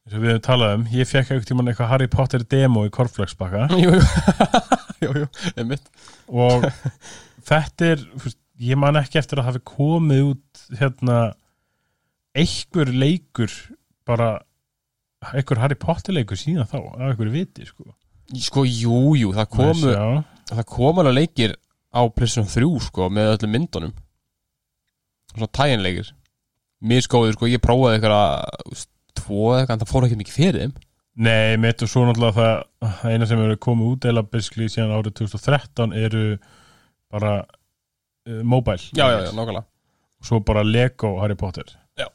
Speaker 2: eins og við hefum talað um, ég fekk eitthvað tímann eitthvað Harry Potter demo í korflagsbakka
Speaker 1: [LAUGHS] jú, jú [LAUGHS] jú, jú, einmitt
Speaker 2: og [LAUGHS] þetta er þú veist, ég man ekki eftir að það hafi komið út hérna einhver leikur bara einhver Harry Potter leikur síðan þá af einhver viti sko
Speaker 1: sko, jú, jú, það komu
Speaker 2: já,
Speaker 1: það komu alveg leikir á PlayStation 3 sko, með öllum myndunum svona tæjanleikir miskóður sko, ég prófaði ykkur að tvo eða eitthvað, en það fór ekki mikið fyrir þeim
Speaker 2: nei, mitt og svo náttúrulega það- það eina sem eru komið út eða byrskli síðan árið 2013 eru bara uh, mobile
Speaker 1: nákvæmlega
Speaker 2: svo bara Lego Harry Potter
Speaker 1: Já.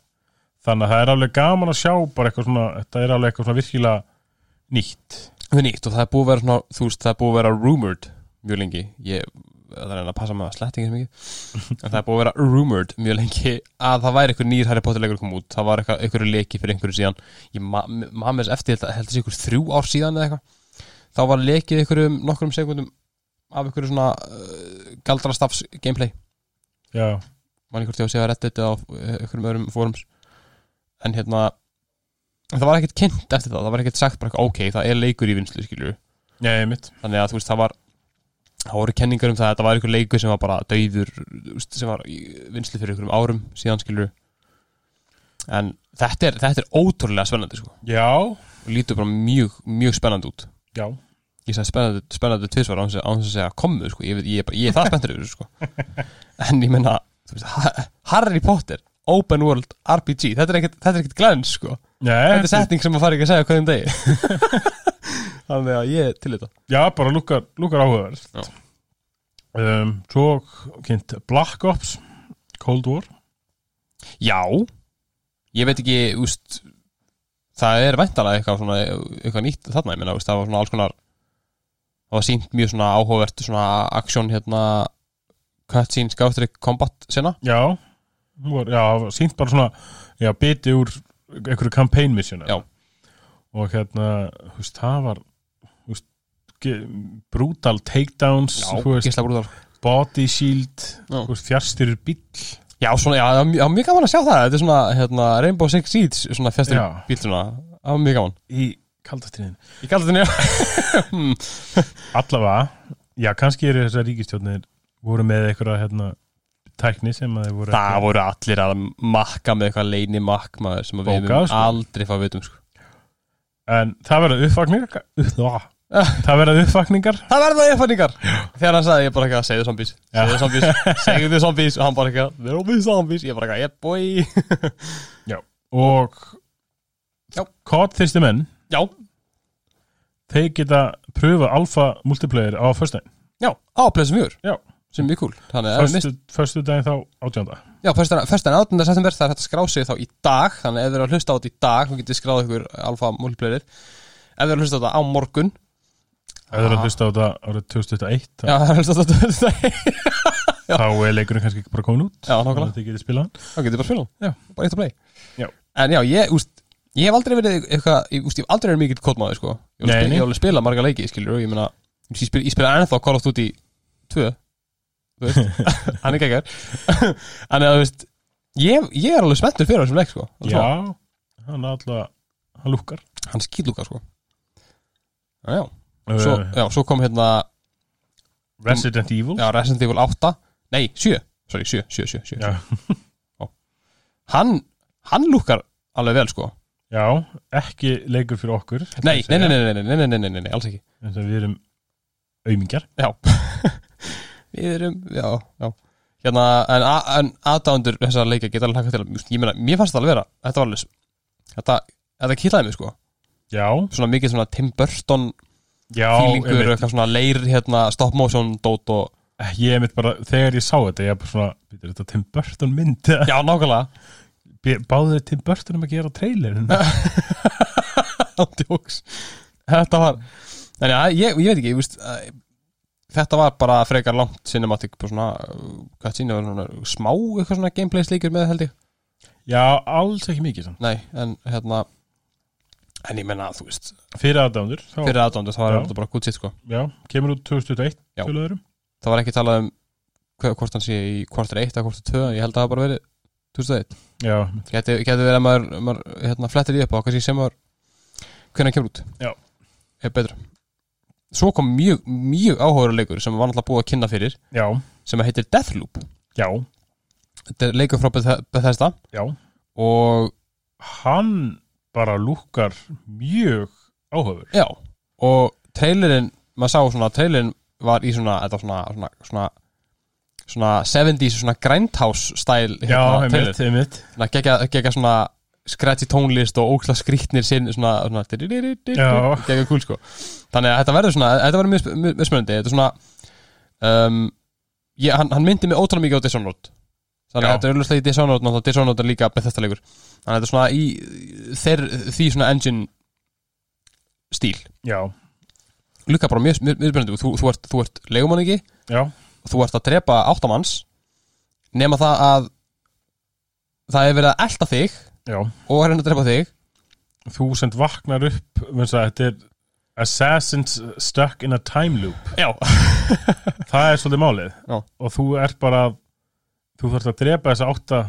Speaker 2: þannig að það er alveg gaman að sjá bara eitthvað svona, þetta er alveg eitthvað svona virkilega nýtt
Speaker 1: Það er nýtt og það er búið að vera svona, þú veist, það er búið að vera rumored mjög lengi ég, það er enn að passa með að sletta ekki svo mikið en það er búið að vera rumored mjög lengi að það væri einhver nýr Harry Potter leikur kom út það var eitthvað, einhverju leiki fyrir einhverju síðan ég ma- ma- maður með þess eftir þetta heldur sig einhver þrjú ár síðan eða eitthvað þá var leikið einhverjum nokkrum sekundum af einhverju svona uh, galdrastafs gameplay
Speaker 2: já,
Speaker 1: mann einhvert ég að segja reddit eða á eh, einhverjum öðrum fórums en hérna en það var ekkert kynnt eftir það, það var ekkert sagt bara eitthvað, ok, það er leikur í vinslu skilju
Speaker 2: nei, mitt
Speaker 1: þannig að þú veist það var það voru kenningar um það að þetta var einhver leikur sem var bara dauður þú veist, sem var í vinslu fyrir einhverjum árum síðan skilur en þetta er, þetta er ótrúlega spennandi sko.
Speaker 2: já,
Speaker 1: og lítur bara mjög, mjög spennandi út
Speaker 2: já
Speaker 1: ég sagði spennandi, spennandi tvisvar án þess að án þess að segja komu sko. ég, veit- ég, er bara- ég er það spenntur yfir þessu, sko. en ég menna veist, Ha- Harry Potter, Open World RPG þetta er ekkert, þetta er ekkert glens sko.
Speaker 2: Nei,
Speaker 1: þetta er setning sem maður fari ekki að segja hverjum degi þannig að ég er til þetta
Speaker 2: Já, bara lukkar, lukkar áhugaverð
Speaker 1: Já.
Speaker 2: um, Svo kynnt Black Ops Cold War
Speaker 1: Já Ég veit ekki, úst Það er væntalega eitthvað, svona, eitthvað nýtt þarna, ég meina, úst, það var svona alls konar það var sínt mjög svona áhugavert svona aksjón hérna cutscene skástrík kombat sena
Speaker 2: Já, hún var, já sínt bara svona Já, biti úr einhverju campaign mission
Speaker 1: Já.
Speaker 2: Og hérna, þú veist, það var þú veist, ge- brutal takedowns þú veist,
Speaker 1: gísla brúðar
Speaker 2: body shield
Speaker 1: Já.
Speaker 2: þú veist, fjárstyrur bíll
Speaker 1: Já, svona, já, það var mjög- það var mjög gaman að sjá það þetta er svona, hérna, Rainbow Six Siege svona fjastur
Speaker 2: Já.
Speaker 1: bíl svona, það var mjög gaman
Speaker 2: í kaldastriðin
Speaker 1: Ég kaldi þetta nýja Hmm.
Speaker 2: allavega, já kannski eru þessar ríkistjóðnir voru með einhverja hérna, tækni sem að þeir voru
Speaker 1: Það voru allir að makka með eitthvað leini maður sem að við
Speaker 2: Bókað,
Speaker 1: höfum
Speaker 2: sko.
Speaker 1: aldrei fá að veitum sko.
Speaker 2: en það verða uppvakningar upp,
Speaker 1: Ah.
Speaker 2: það verða uppvakningar
Speaker 1: Það verða uppfanningar Þegar hann sagði ég bara ekki að segðu zombies Segðu
Speaker 2: [LAUGHS]
Speaker 1: zombies, segðu zombies Og hann bara ekki að there will be zombies Ég bara ekki að yeah boy
Speaker 2: og
Speaker 1: Já.
Speaker 2: kott þyrsti menn
Speaker 1: Já,
Speaker 2: þeir geta pröfa alfa multiplayer á föstudaginn
Speaker 1: já, á plesum mjögur
Speaker 2: Já.
Speaker 1: Sem er mjög cool Þannig að ef við mist
Speaker 2: Föstu- föstudaginn þá átjönda
Speaker 1: Já, fyrstan 18. september það er hægt að skrá sig þá í dag Þannig að ef þið eru að hlusta á þetta í dag Þá getið skráð ykkur alfa multiplayer Ef þið eru að hlusta á þetta á morgun
Speaker 2: ef þeir eru
Speaker 1: Ah.
Speaker 2: að hlusta á þetta árið 2001 þá,
Speaker 1: Já, það er að hlusta á þetta á
Speaker 2: [LAUGHS]
Speaker 1: dag
Speaker 2: þá er leikurinn kannski ekki bara komin út
Speaker 1: Já,
Speaker 2: þannig
Speaker 1: nákvæmlega
Speaker 2: að þeir getið spilað hann
Speaker 1: þá getur bara að spila hann
Speaker 2: Já.
Speaker 1: bara eitt að play
Speaker 2: Já.
Speaker 1: en já, ég, úst, ég hef aldrei verið eitthvað, ég, úst, ég hef aldrei verið mikill kódmaður sko. ég hef alveg spilað- ég
Speaker 2: Nei, nei.
Speaker 1: hef alveg spilað marga leiki skilur, ég meina, ég spila, ég spila ennþá Call of Duty 2 þú veist,
Speaker 2: [LAUGHS]
Speaker 1: hann er [LAUGHS] geggar en þú veist ég, ég er alveg spenntur fyrir þessum leik sko.
Speaker 2: já, hann er alltaf hann lukkar
Speaker 1: hann skýtlúka sko. já, já. svo,
Speaker 2: uh,
Speaker 1: já, svo kom hérna
Speaker 2: Resident Evil
Speaker 1: já, Resident Evil 8 nei, 7, sorry, 7, 7, 7, 7.
Speaker 2: Já.
Speaker 1: hann, hann lúkar alveg vel sko
Speaker 2: Já, ekki leikur fyrir okkur
Speaker 1: nei, nei, nei, nei, nei, nei, nei, nei, nei, nei, nei, alls ekki
Speaker 2: nei Við erum aumingjar
Speaker 1: Já [LAUGHS] Við erum, já, já Hérna, en, a- en aðdándur þessara leika geta alveg hlaka til að, ég meina, mér fannst það alveg vera Þetta var alveg, s- þetta, þetta kýlaði mig sko
Speaker 2: Já,
Speaker 1: Svona mikið svona Tim Burton
Speaker 2: já
Speaker 1: fílingur,
Speaker 2: einmitt.
Speaker 1: eitthvað svona leir, hérna, stop motion, dót og
Speaker 2: Ég er mitt bara, þegar ég sá þetta Ég er bara svona, býtur þetta Tim Burton mynd eða?"
Speaker 1: Já,
Speaker 2: [LAUGHS]
Speaker 1: nákvæmlega
Speaker 2: B- Báðu þið Tim Burton um að gera trailerin
Speaker 1: Ándjóks Þetta var, þannig að ég, ég veit ekki, ég veist að, Þetta var bara frekar langt cinematic, bara svona, uh, hvað sína, svona, smá eitthvað svona gameplay slíkur með held ég
Speaker 2: Já, alls ekki mikið sann
Speaker 1: Nei, en hérna En ég menna, þú veist,
Speaker 2: Fyrir aðdámdur, þá,
Speaker 1: fyrir aðdóndu þá er
Speaker 2: Já.
Speaker 1: þetta bara gútt sitt sko
Speaker 2: já, kemur út 2001
Speaker 1: Já.
Speaker 2: til öðrum
Speaker 1: Það var ekki talað um hve- hvort hann sé í kvartur 1 eða kvartur 2 Ég held að það hafi bara verið 2001
Speaker 2: Já,
Speaker 1: Gæti, gæti verið að maður, maður hérna, flettir í upp á kannski sem maður hvernig hann kemur út
Speaker 2: Já.
Speaker 1: Er betra Svo kom mjög, mjög áhugaður leikur sem var náttúrulega búið að kynna fyrir
Speaker 2: já,
Speaker 1: sem heitir Deathloop
Speaker 2: já,
Speaker 1: Þetta er leikur frá Beth- Bethesda
Speaker 2: já
Speaker 1: og
Speaker 2: Hann bara lúkkar mjög áhöfur
Speaker 1: Já, og trailerinn maður sá svona, trailerinn var í svona þetta var svona, svona, svona svona 70s, svona grindhouse stæl
Speaker 2: Já, einmitt, einmitt
Speaker 1: svona gegja, gegja svona scratchy tónlist og óksla skrýtnir sinn svona, svona
Speaker 2: Já.
Speaker 1: gegja kúl sko þannig að þetta verður svona, þetta verður mjög sp- mjög mjög spennandi þetta er svona um, ég, hann, hann myndi mig ótrúlega mikið á Dishonored þannig að
Speaker 2: Já.
Speaker 1: þetta er auðvitað í Dishonored náttúrulega Dishonored er líka Bethesda leikur þannig að þetta er svona í þeir, því svona engine stíl
Speaker 2: Já,
Speaker 1: líka bara mjög, mjög, mjög spennandi þú, þú ert, þú ert leigumanningi
Speaker 2: já,
Speaker 1: og þú ert að drepa áttamanns nema það að það er verið að elta þig
Speaker 2: já
Speaker 1: og er henni að drepa þig
Speaker 2: þú sem vaknar upp vegna þess að þetta er Assassins stuck in a time loop
Speaker 1: já,
Speaker 2: það er svolítið málið
Speaker 1: Já.
Speaker 2: og þú ert bara þú þarfst að drepa þessa átta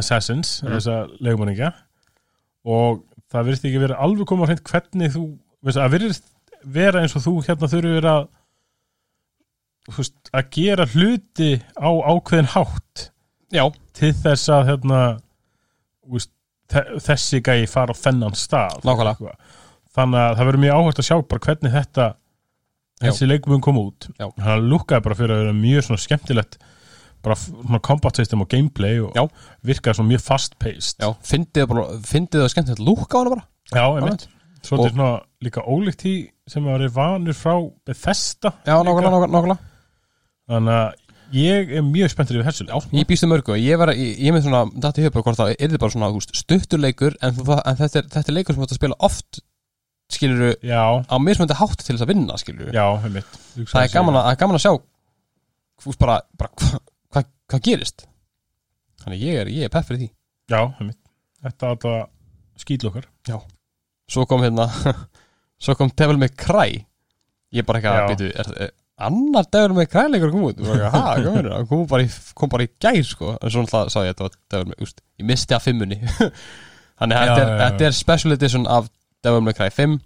Speaker 2: Assassins,
Speaker 1: Mm.
Speaker 2: þessa legumanninga og það virðist ekki vera alveg koma á hreint hvernig þú vegna, það virðist vera eins og þú hérna þurfi vera að þú veist, að gera hluti á ákveðin hátt
Speaker 1: já,
Speaker 2: til þess að hérna, úst, þessi gæi fara á þennan stað
Speaker 1: Nákvæmlega.
Speaker 2: Eitthvað. þannig að það verður mjög áhægt að sjá bara hvernig þetta
Speaker 1: Já.
Speaker 2: þessi leikumum kom út
Speaker 1: Já.
Speaker 2: hann lukkaði bara fyrir að vera mjög svona skemmtilegt bara f- svona combat system og gameplay og
Speaker 1: Já.
Speaker 2: virkaði svona mjög fast paced
Speaker 1: já fyndið bara, fyndið það skemmt þetta lúk á hana bara
Speaker 2: já einmitt
Speaker 1: Og-
Speaker 2: svolítið svona líka ólíkt því sem að vera vanur frá Bethesda
Speaker 1: já,
Speaker 2: líka.
Speaker 1: nákvæmlega, nákvæmlega, nákvæmlega
Speaker 2: þannig að ég er mjög spenntur yfir þessu leik.
Speaker 1: ég býst um mörgu, ég var, ég, ég með svona þetta í höfbjörg hvort það er bara svona þú veist, stuttur leikur en, þú, en þetta, er, þetta er leikur sem þú átt að spila oft skiluru
Speaker 2: já,
Speaker 1: á mismöndi hátt til þess að vinna skiluru
Speaker 2: já, einmitt
Speaker 1: það er gaman að, það er gaman að sjá þú veist, bara, bara [LAUGHS] hvað hva, hva gerist þannig ég er, ég er pepp fyrir því
Speaker 2: já, einmitt þetta er alltaf skýtlokkar
Speaker 1: svo kom hérna [LAUGHS] svo kom Devil May Cry ég bara ekki
Speaker 2: Já.
Speaker 1: að býtu er, er, annar Devil May Cry leikur kom út Ég bara,
Speaker 2: [LAUGHS]
Speaker 1: ha, hvað meinarðu? hann kom bara, í, kom bara í gær sko en svo náttúrulega sá ég að þetta var Devil May úst, ég misti af fimmunni [LAUGHS] þannig að
Speaker 2: Já,
Speaker 1: þetta er,
Speaker 2: já, já.
Speaker 1: þetta er special edition af Devil May Cry 5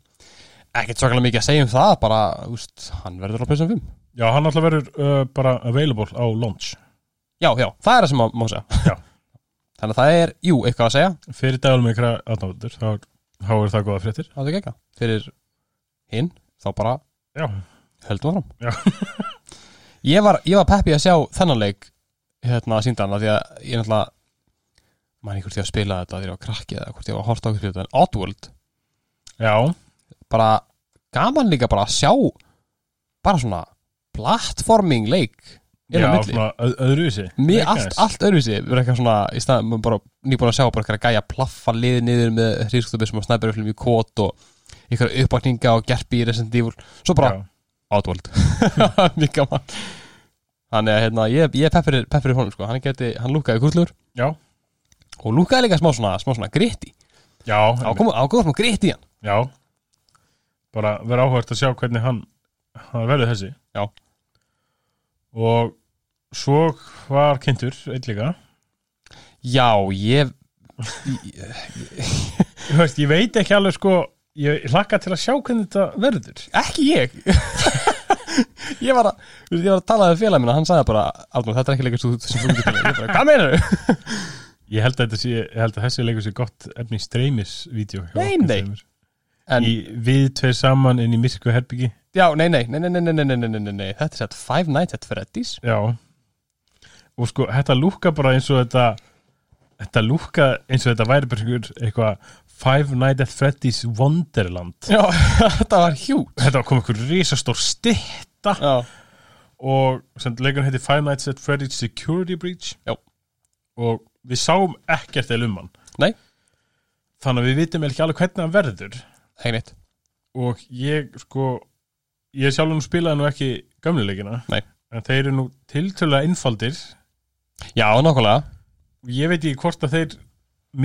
Speaker 1: ekkert svakalega mikið að segja um það bara, úst, hann verður á PlayStation 5
Speaker 2: Já, hann alltaf verður uh, bara available á launch
Speaker 1: já, já, það er það sem má, má segja
Speaker 2: Já.
Speaker 1: [LAUGHS] þannig að það er, jú, eitthvað að segja
Speaker 2: Fyrir dælum ykkur aðnáður þá, þá er það góða fréttir
Speaker 1: það er ekki eitthvað fyrir hinn, þá bara
Speaker 2: Já,
Speaker 1: höldum áfram
Speaker 2: Já.
Speaker 1: [LAUGHS] ég var, ég var peppi að sjá þennan leik hérna síndan af því að ég náttúrulega mann ekki hvort ég að spila þetta þegar ég var krakki eða hvort ég var að horta okkur spila þetta en Oddworld,
Speaker 2: já,
Speaker 1: bara gaman líka bara að sjá bara svona platforming leik inn
Speaker 2: já
Speaker 1: á milli,
Speaker 2: svona öð, öðruvísi
Speaker 1: mér
Speaker 2: Very
Speaker 1: allt,
Speaker 2: nice.
Speaker 1: allt öðruvísi verður eitthvað svona, í stað, maður bara nýbúin að sjá bara eitthvað gæja plaffa liðið niður með hrískutubisum og snæperuflum í kót og eitthvað uppakninga og gerpi í Resident Evil svo bara
Speaker 2: Já.
Speaker 1: Outworld [LAUGHS] mjög gaman þannig að hérna, ég, ég peppir, peppir í honum sko. hann, geti, hann lúkaði kurslur
Speaker 2: Já,
Speaker 1: og lúkaði líka smá svona, smá svona gritti
Speaker 2: já, einmitt.
Speaker 1: ágóða smá gritti í hann
Speaker 2: já Bara verður áhvert að sjá hvernig hann, hann verður þessi
Speaker 1: Já.
Speaker 2: Og svo var kynntur einn líka
Speaker 1: já, ég
Speaker 2: Þú veist, Ég veit ekki alveg sko Ég hlakka til að sjá hvernig þetta verður
Speaker 1: ekki ég [LAUGHS] ég var að, þú veist, ég var að tala við félag minna hann sagði bara, Arnur, þetta er ekki leikur sem þú- sem þú getur leikað." Ég bara, hvað meinar
Speaker 2: [LAUGHS]
Speaker 1: þau?
Speaker 2: Ég held að, þetta sé, ég held að þessi leikur sé gott efni í streymis-vídeó hjá
Speaker 1: Nei,
Speaker 2: okkur
Speaker 1: nei.
Speaker 2: tveimur.
Speaker 1: en,
Speaker 2: í, Við tveir saman inn í myrku herbyggi
Speaker 1: já, nei, nei, nei, nei, nei, nei, nei, nei, nei, nei, nei þetta er sett Five Nights at Freddy's
Speaker 2: Já Og sko, þetta lúka bara eins og þetta Þetta lúka eins og þetta væri bara einhver- eitthvað Five Nights at Freddy's Wonderland
Speaker 1: já, [LAUGHS] þetta var hjút
Speaker 2: Þetta var komið einhver risastór stytta
Speaker 1: já,
Speaker 2: og sem leikurinn heiti Five Nights at Freddy's Security Breach
Speaker 1: Já.
Speaker 2: og við sáum ekkert eða um hann
Speaker 1: Nei.
Speaker 2: þannig að við vitum ekki alveg hvernig hann verður
Speaker 1: ekki neitt
Speaker 2: og ég sko ég sjálfum spilaði nú ekki gömluleikina
Speaker 1: Nei.
Speaker 2: en þeir eru nú tiltölulega einfaldir
Speaker 1: já, nokkulega,
Speaker 2: og ég veit ekki hvort að þeir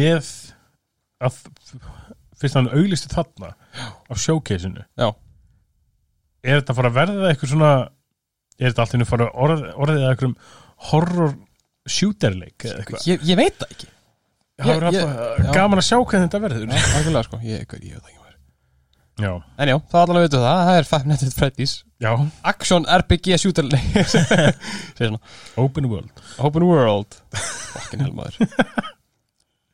Speaker 2: með að fyrst hann auglistu þarna á showcase-inu
Speaker 1: Já.
Speaker 2: er þetta að fara að verða eitthvað svona er þetta alltaf að fara að orð, orðið að einhverjum horror shooter-leik eða eitthvað
Speaker 1: ég, ég veit það ekki
Speaker 2: það
Speaker 1: ég-
Speaker 2: verður
Speaker 1: já.
Speaker 2: alltaf gaman að sjá hvernig þetta verður
Speaker 1: Já, algjörlega sko, ég, ég, ég veit það ekki maður
Speaker 2: já,
Speaker 1: En já, það allavega veitum það, það er Five Nights at Freddy's
Speaker 2: já,
Speaker 1: Action RPG shooter [LAUGHS] Segir svona
Speaker 2: open world
Speaker 1: Open World Fucking hell maður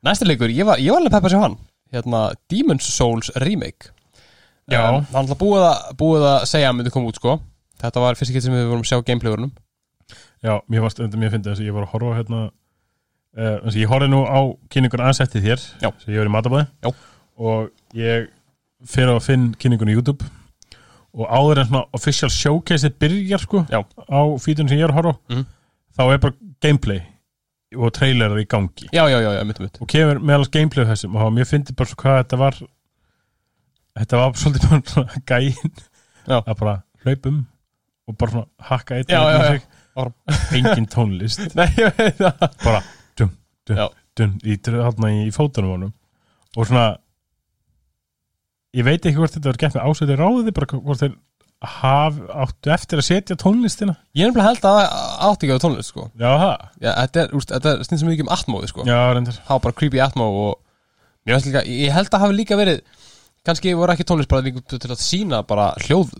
Speaker 1: Næsti leikur, ég var, ég var alveg peppa sér hann Hérna, Demon's Souls Remake
Speaker 2: Já.
Speaker 1: um, Hann alltaf búið að, búið að segja að myndi koma út sko Þetta var fyrst ekki sem við vorum að sjá gameplayurunum
Speaker 2: já, mér varst undan mér að finna þess að ég var að horfa hérna uh, eins og ég horfði nú á kynningun aðsettið hér
Speaker 1: Já.
Speaker 2: sem ég var í matabæði
Speaker 1: Já.
Speaker 2: og ég fyrir að finn kynningun í YouTube og áður en svona official showcase byrjar sko
Speaker 1: Já.
Speaker 2: á fítunum sem ég er að horfa á,
Speaker 1: Mhm.
Speaker 2: þá er bara gameplay og trailerar í gangi
Speaker 1: Já, já, já, já, mitt, mitt
Speaker 2: og kemur meðal gameplay af þessum og mér fyndi bara svo hvað þetta var þetta var svolítið bara svona [LAUGHS] gæinn
Speaker 1: Já.
Speaker 2: að bara hlaupum og bara svona hakka eitt
Speaker 1: Já, já, já. Áfram.
Speaker 2: engin tónlist
Speaker 1: Nei, ég veit það
Speaker 2: bara dum, dum,
Speaker 1: Já.
Speaker 2: dum í, haldna í fótunum honum og svona ég veit ekki hvort þetta var gett með ásætti ráði bara hvort þeir haf, áttu eftir að setja tónlistina
Speaker 1: Ég er nefnilega held að það átti ekki á tónlist sko
Speaker 2: já, það,
Speaker 1: já, Þetta er, úst, þetta er snýst svo mikið um atmóði sko
Speaker 2: já, reyndar
Speaker 1: það var bara creepy atmo og mér finnst líka, ég held að hafi líka verið kannski voru ekki tónlist bara líka til að sína bara hljóð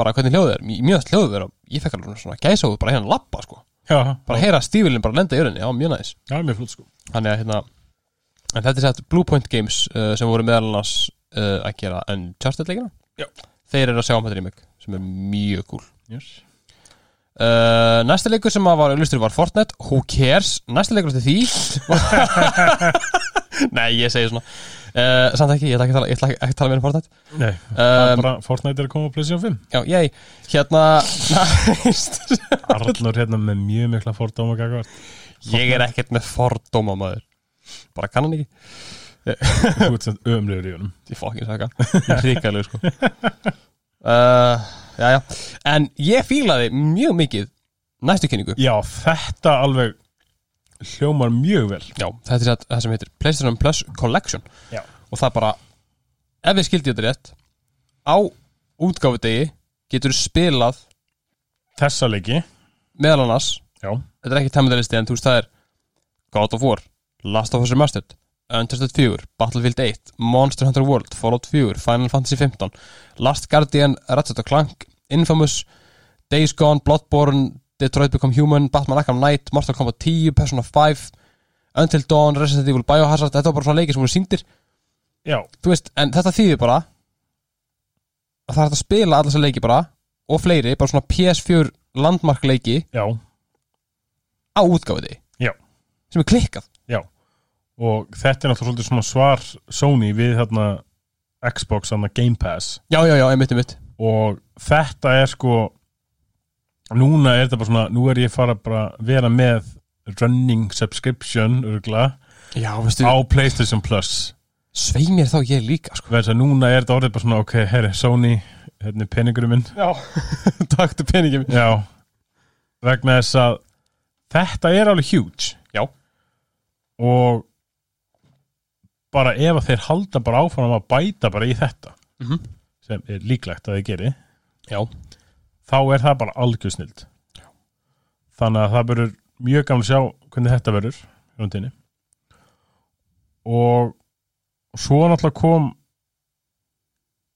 Speaker 1: bara hvernig hljóð er, Mér- mjög hljóð er ég fekk alveg svona gæsóð bara hérna lappa sko
Speaker 2: já,
Speaker 1: bara heyra stífilin bara lenda í örinni, já mjög næs
Speaker 2: já, mér flott sko
Speaker 1: þannig að hérna en þetta er sett Blue Point Games uh, sem voru meðal annars uh, að gera Uncharted leikina
Speaker 2: Já.
Speaker 1: þeir eru að sjá um þetta remake sem er mjög cool
Speaker 2: yes.
Speaker 1: Uh, næsti leikur sem að var auðlustur var Fortnite Who cares? Næsti leikur eftir [LAUGHS] því Nei, ég segi svona uh, Samt ekki, ég ætla ekki að tala, ég ætla ekki að tala meira um Fortnite
Speaker 2: Nei, það er
Speaker 1: um,
Speaker 2: bara Fortnite er að koma á PlayStation 5
Speaker 1: Já, ég, hérna Næst
Speaker 2: Arnur hérna með mjög mikla fordóma gagvart
Speaker 1: Ég er ekkert með fordóma maður Bara kann hann ekki
Speaker 2: Þú ert sem ömlegur í honum
Speaker 1: Ég fokkin saka Ég er hrikaleg sko uh, Já, já En ég fílaði mjög mikið Næstu kynningu
Speaker 2: Já, þetta alveg hljómar mjög vel
Speaker 1: Já, þetta er satt- það sem heitir PlayStation Plus Collection
Speaker 2: Já.
Speaker 1: og það bara ef við skildi þetta rétt á útgáfudegi getur spilað
Speaker 2: Þessa leiki
Speaker 1: meðal annars
Speaker 2: Já,
Speaker 1: þetta er ekki tæmendalisti en þú veist það er God of War, Last of Us Remastered Untested 4, Battlefield 8 Monster Hunter World, Fallout 4 Final Fantasy 15, Last Guardian Ratchet Clank, Infamous Days Gone, Bloodborne Detroit Become Human, Batman Arkham Knight Mortal Kombat 10, Persona 5 Until Dawn, Resident Evil Biohazard Þetta var bara svona leikir sem voru sýndir
Speaker 2: Já,
Speaker 1: þú veist, en þetta þýðir bara að það er hægt að spila alla þessar leiki bara og fleiri, bara svona PS4 landmarkleiki
Speaker 2: já,
Speaker 1: á útgáfiði
Speaker 2: Já.
Speaker 1: sem er klikkað
Speaker 2: já Og þetta er náttúrulega svolítið svona svar Sony við þarna Xbox, þarna Game Pass
Speaker 1: já, já, já, einmitt, einmitt
Speaker 2: og þetta er sko núna er þetta bara svona nú er ég fara bara að vera með running subscription örgla,
Speaker 1: já, veistu,
Speaker 2: á Playstation Plus
Speaker 1: svei mér þá ég líka sko.
Speaker 2: verðs að núna er þetta orðið bara svona ok, herri, Sony, hérna er peningurum minn
Speaker 1: [LAUGHS] já, takk til peningin
Speaker 2: já, vegna þess að þetta er alveg huge
Speaker 1: Já.
Speaker 2: og bara ef að þeir halda bara áfram að bæta bara í þetta
Speaker 1: Mhm.
Speaker 2: sem er líklegt að þið geri
Speaker 1: já,
Speaker 2: þá er það bara algjör snild þannig að það verður mjög gaman að sjá hvernig þetta verður í rundinni og svo náttúrulega kom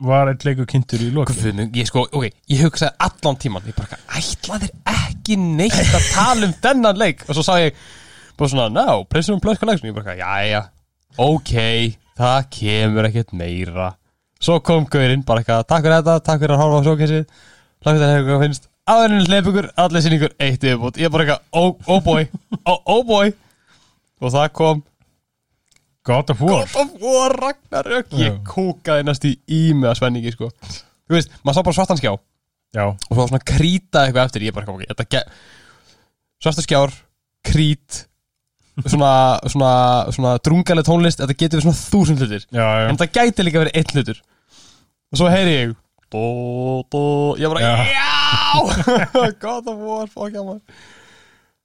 Speaker 2: var eitt leikur kynntur í lokin
Speaker 1: guðnum, ég sko, ok, ég hugsaði allan tíman ég bara, eitthvað, ætla þér ekki neitt að tala um þennan leik og svo sá ég bara svona, ná, pressum um blöð collection, ég bara, eitthvað, jæja ok, það kemur ekkert meira svo kom Gaurinn, bara eitthvað takk fyrir þetta, takk fyrir að horfa á sjókessið langt að hefur hvað finnst, aðurinn hleyp ykkur allir sýningur, eitt yfirbútt, ég bara eitthvað oh, oh boy, oh, oh boy og það kom
Speaker 2: God of War
Speaker 1: God of War Ragnarök ég
Speaker 2: Já.
Speaker 1: kúkaði næst í ími að svenningi sko. þú veist, maður sá bara svartan skjá
Speaker 2: já,
Speaker 1: og svo svona krýta eitthvað eftir ég bara kom ekki, þetta ge... svarta skjár, krít svona, svona, svona drungaleg tónlist, þetta getur við svona þúsund hlutir
Speaker 2: já, já,
Speaker 1: en það gæti líka verið einn hlutur og svo heyri ég dó, dó, ég bara
Speaker 2: Já.
Speaker 1: já, [LAUGHS] God of War fokkja maður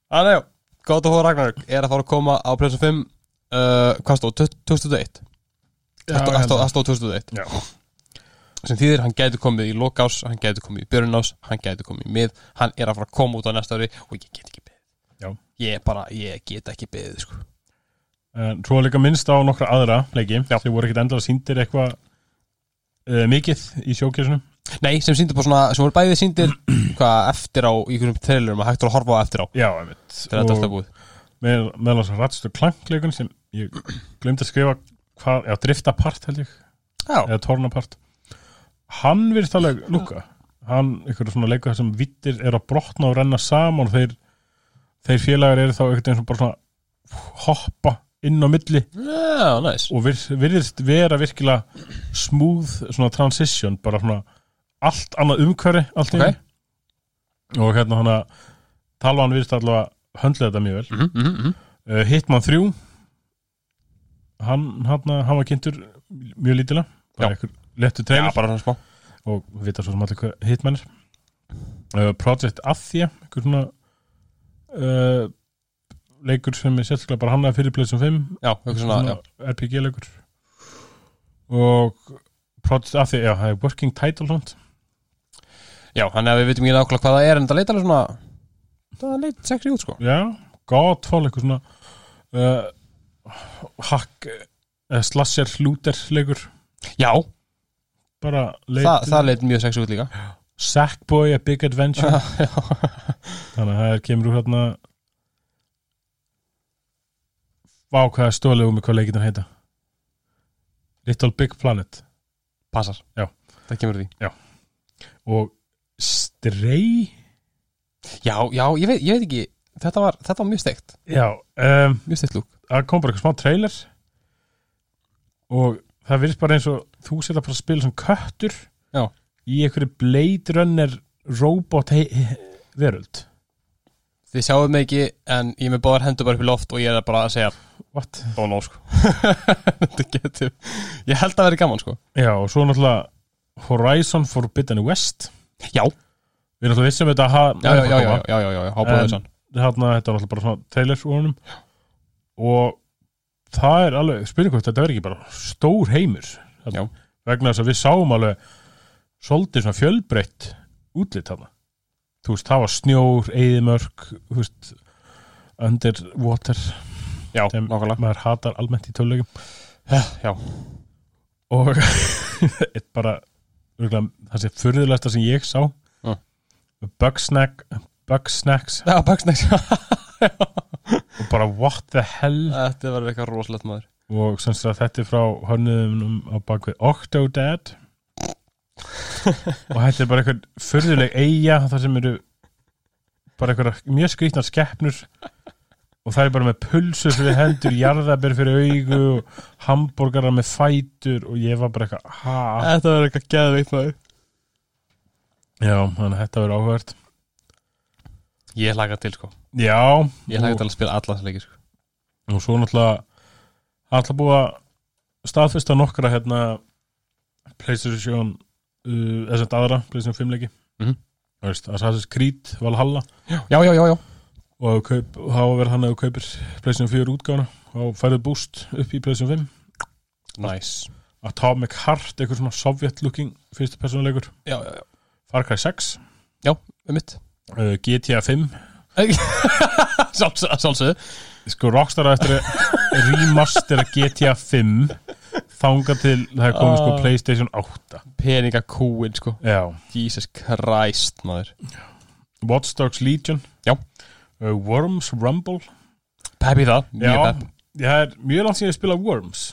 Speaker 1: þannig, já, God of War Ragnarök er að fara að koma á Prince 5 uh, hvað stóð, 2001
Speaker 2: já,
Speaker 1: það stóð-
Speaker 2: já,
Speaker 1: það stóð- það stóð 2001
Speaker 2: já,
Speaker 1: sem þýðir hann gæti komið í lokás, hann gæti komið í björnás, hann gæti komið í mið, hann er að fara að koma út á næsta ári og ég get ekki beðið.
Speaker 2: Já.
Speaker 1: Ég bara, ég get ekki beðið, sko.
Speaker 2: en svo var líka minnst á nokkra aðra leiki já. sem voru ekkit endala síndir eitthvað uh, mikið í sjókjössunum
Speaker 1: Nei, sem síndir bara svona, sem voru bæðið síndir [CLEARS THROAT] hvað eftir á, í einhverjum trailerum að hægt var að horfa á eftir á,
Speaker 2: já, einmitt
Speaker 1: þegar þetta er
Speaker 2: Og-
Speaker 1: alltaf búið.
Speaker 2: með, meðal þess að ratstur klankleikun sem ég glemdi að skrifa hvað, já, driftapart held ég
Speaker 1: Já,
Speaker 2: eða tornapart hann virðist alveg lúka hann, ykkur svona leikur þar sem vittir er að brotna og renna saman og þeir, þeir félagar eru þá eitthvað eins og bara svona hoppa inn á milli
Speaker 1: já, næs.
Speaker 2: og vir, virðist vera virkilega smooth svona transition bara svona allt annað umhverfi allt í
Speaker 1: Ok.
Speaker 2: einu. og hérna hann að talvan virðist allavega höndla þetta mjög vel
Speaker 1: Mm -hmm, mm -hmm.
Speaker 2: uh, Hitman 3 hann, hann, hann var kynntur mjög lítilega bara
Speaker 1: Já.
Speaker 2: einhver lettu
Speaker 1: Já,
Speaker 2: trailer
Speaker 1: bara svona smá.
Speaker 2: og við vita svo sem allir hvað Hitman er uh, Project Athia einhver svona uh, leikur sem er sérstaklega bara hannaði fyrir Playstation 5
Speaker 1: Já, eitthvað svona, já.
Speaker 2: RPG leikur og Project Athia, já, það er Working Title svona.
Speaker 1: Já, þannig að við vitum ekki nákvæmlega hvað það er, en það leit alveg svona, það leit sexy út, sko.
Speaker 2: já, Godfall eitthvað svona uh, hack uh, slasher looter leikur
Speaker 1: Já,
Speaker 2: bara leit
Speaker 1: það, það leit mjög sexy út líka.
Speaker 2: Sackboy A Big
Speaker 1: [LAUGHS]
Speaker 2: Adventure þannig að það kemur úr hérna Vá hvað er stólið um mig hvað leikirnar heita Little Big Planet
Speaker 1: Passar.
Speaker 2: Já.
Speaker 1: Það kemur því.
Speaker 2: og Stray
Speaker 1: Já, já, ég veit, ég veit ekki, þetta var, þetta var mjög steikt,
Speaker 2: Já, um,
Speaker 1: mjög steikt lúk.
Speaker 2: það kom bara eitthvað smá trailer og það virðist bara eins og þú setja bara að spila sem köttur
Speaker 1: Já.
Speaker 2: í einhverju Blade Runner robot hei- hei- veröld
Speaker 1: Þið sjáum mig ekki en ég er með báðar hendur bara upp í loft og ég er bara að segja [LAUGHS]
Speaker 2: What?
Speaker 1: Don't know sko Þetta getur Ég held að vera gaman sko
Speaker 2: Já, og svo náttúrulega Horizon Forbidden West
Speaker 1: Já,
Speaker 2: Við náttúrulega vissum þetta að ha-
Speaker 1: já, já, já, já, já, já, já, já Hápaðu
Speaker 2: En-
Speaker 1: þessan
Speaker 2: Þarna, þetta var náttúrulega bara svona trailer úr honum og það er alveg, spyrir hvort þetta verður ekki bara stór heimur
Speaker 1: Já.
Speaker 2: þarna, vegna þess að við sáum alveg svolítið svona fjölbreytt útlit þarna þú veist, það var snjór, eðimörk þú veist, underwater
Speaker 1: Já,
Speaker 2: sem
Speaker 1: nákvæmlega
Speaker 2: maður hatar almennt í töluleikum
Speaker 1: Já,
Speaker 2: og [LAUGHS] eitt bara örgulega, það sé furðulegsta sem ég sá
Speaker 1: Já.
Speaker 2: Bugsnack Bugsnacks
Speaker 1: já Bugsnax [LAUGHS]
Speaker 2: og bara what the hell
Speaker 1: Þetta verður eitthvað rosalegt maður
Speaker 2: og semst að þetta er frá hönnuðum á bakvið Octodad og þetta er bara einhvern furðuleg eiga þar sem eru bara einhverjar mjög skrýtnar skeppnur og það er bara með pulsu fyrir hendur, jarðabir fyrir augu og hambúrgarar með fætur og ég var bara eitthvað ha
Speaker 1: Þetta verður eitthvað geðveikt maður
Speaker 2: Já, þannig að þetta verður áhugavert
Speaker 1: Ég hlaka til sko
Speaker 2: Já,
Speaker 1: Ég hlaka
Speaker 2: og,
Speaker 1: til að spila alla þessa leiki sko
Speaker 2: og svo náttúrulega Það er alltaf búið að staðfesta nokkra hérna PlayStation uh, eða sem aðra, PlayStation 5 leiki
Speaker 1: Mhm.
Speaker 2: Það veist, Assassin's Creed Valhalla
Speaker 1: Já, já, já, já
Speaker 2: og ef þú kaup, þá verður hann að þú kaupir PlayStation 4 útgána og færðu boost upp í PlayStation 5
Speaker 1: Næs
Speaker 2: Atomic Heart, einhver svona Soviet looking fyrstu persónuleikur,
Speaker 1: Já, já, já
Speaker 2: Far Cry 6
Speaker 1: Um mitt
Speaker 2: uh, GTA 5
Speaker 1: [LAUGHS] Sjálfsögðu
Speaker 2: sko Rockstar á eftir að remastera GTA 5 þanga til það er komið sko
Speaker 1: Ah.
Speaker 2: Playstation 8
Speaker 1: Peninga kúin sko
Speaker 2: já,
Speaker 1: Jesus Christ maður
Speaker 2: Watch Dogs Legion
Speaker 1: Já.
Speaker 2: Uh, Worms Rumble
Speaker 1: Peppi það
Speaker 2: já,
Speaker 1: Mjög pepp
Speaker 2: það er mjög langt síðan að spila Worms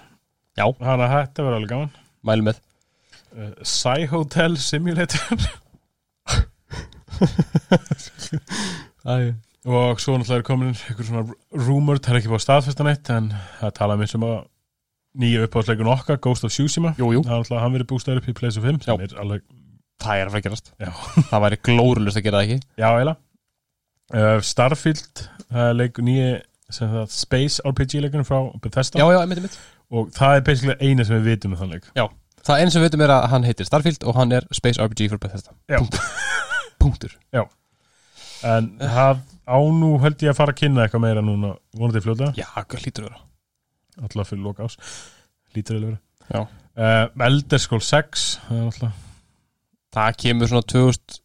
Speaker 1: Já.
Speaker 2: þannig að þetta verður alveg gaman
Speaker 1: Mælum með
Speaker 2: uh, Psy Hotel Simulator
Speaker 1: Æ
Speaker 2: og svo náttúrulega er komin einhver svona rumored, það er ekki búið að staðfesta neitt en það talaði mér sem að nýja uppáðsleikun okkar, Ghost of Tsushima
Speaker 1: Jú, jú
Speaker 2: það er náttúrulega að hann verið bústæður upp í Playstation 5 sem er alveg
Speaker 1: Það er að fara að gerast
Speaker 2: Já.
Speaker 1: [LAUGHS] Það væri glórulust að gera það ekki
Speaker 2: Já, eiginlega uh, Starfield, það er leik nýja sem það, Space RPG leikunum frá Bethesda
Speaker 1: Já, já, einmitt, einmitt
Speaker 2: og það er basically eina sem við vitum um þann leik
Speaker 1: Það eins og við veitum er að hann heitir Starfield og hann er Space RPG fyrir Bethesda
Speaker 2: Já.
Speaker 1: Punktur [LAUGHS] Punktur
Speaker 2: en það á nú held ég að fara að kynna eitthvað meira núna vonandi fljóta,
Speaker 1: Já, hvað hlýtur að vera
Speaker 2: alltaf fyrir loka ás lítur eða
Speaker 1: Já.
Speaker 2: vera uh, Elder Scrolls 6 það er alltaf
Speaker 1: Það kemur svona 2000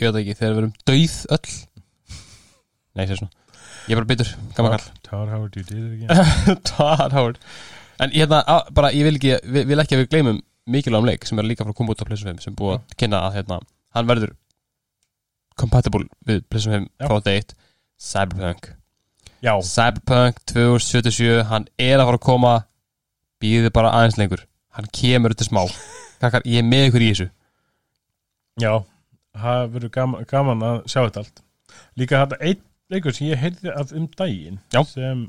Speaker 1: Ég veit ekki, þegar við erum dauð öll Nei, ég segi svona Ég er bara bitur, gaman kall
Speaker 2: Tower Howard, you did it again
Speaker 1: [LAUGHS] Todd Howard En hérna, á- bara ég vil ekki, vil, vil ekki að við gleymum mikilvægum leik sem er líka frá að koma út á PlayStation 5 sem er búið að kynna að hérna, hann verður compatible við PlayStation 5
Speaker 2: Já.
Speaker 1: frá date Cyberpunk
Speaker 2: Já,
Speaker 1: Cyberpunk 2077 hann er að fara að koma býðið bara aðeins lengur hann kemur til smá Kakkar, ég er með ykkur í þessu
Speaker 2: já það verður gaman, gaman að sjá þetta allt líka þetta einn leikur sem ég heyrði að um daginn
Speaker 1: Já.
Speaker 2: sem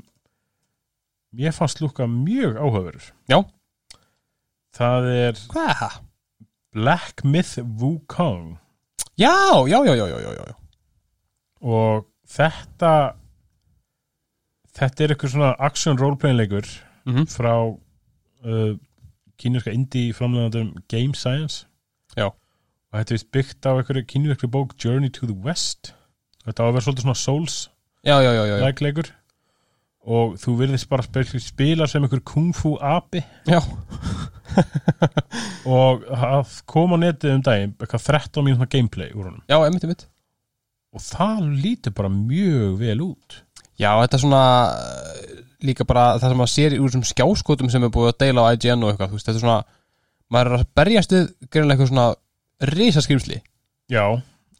Speaker 2: ég fannst lúka mjög áhugaverur
Speaker 1: Já.
Speaker 2: það er
Speaker 1: Hvað er það?
Speaker 2: Black Myth Wukong
Speaker 1: Já, já, já, já, já, já, já.
Speaker 2: og þetta þetta er eitthvað svona action roleplaying leikur
Speaker 1: Mm -hmm.
Speaker 2: frá uh, kínverska indie framlegandum Game Science
Speaker 1: Já.
Speaker 2: og þetta er víst byggt á einhverju kínverskri bók Journey to the West þetta á að vera svolítið svona Souls
Speaker 1: já, já, já, já, já.
Speaker 2: legleikur og þú virðist bara spil- spila sem einhver kung fu api
Speaker 1: já.
Speaker 2: og að koma á netið um daginn eitthvað 13 mínútna gameplay úr honum
Speaker 1: já emitt, emitt
Speaker 2: og það lítur bara mjög vel út
Speaker 1: Já, þetta er svona eh, líka bara það sem maður sér úr þessum skjáskotum sem er búið að deila á IGN og eitthvað, þú veist, þetta er svona maður er að berjast við greinlega eitthvað svona risaskrimsli,
Speaker 2: já,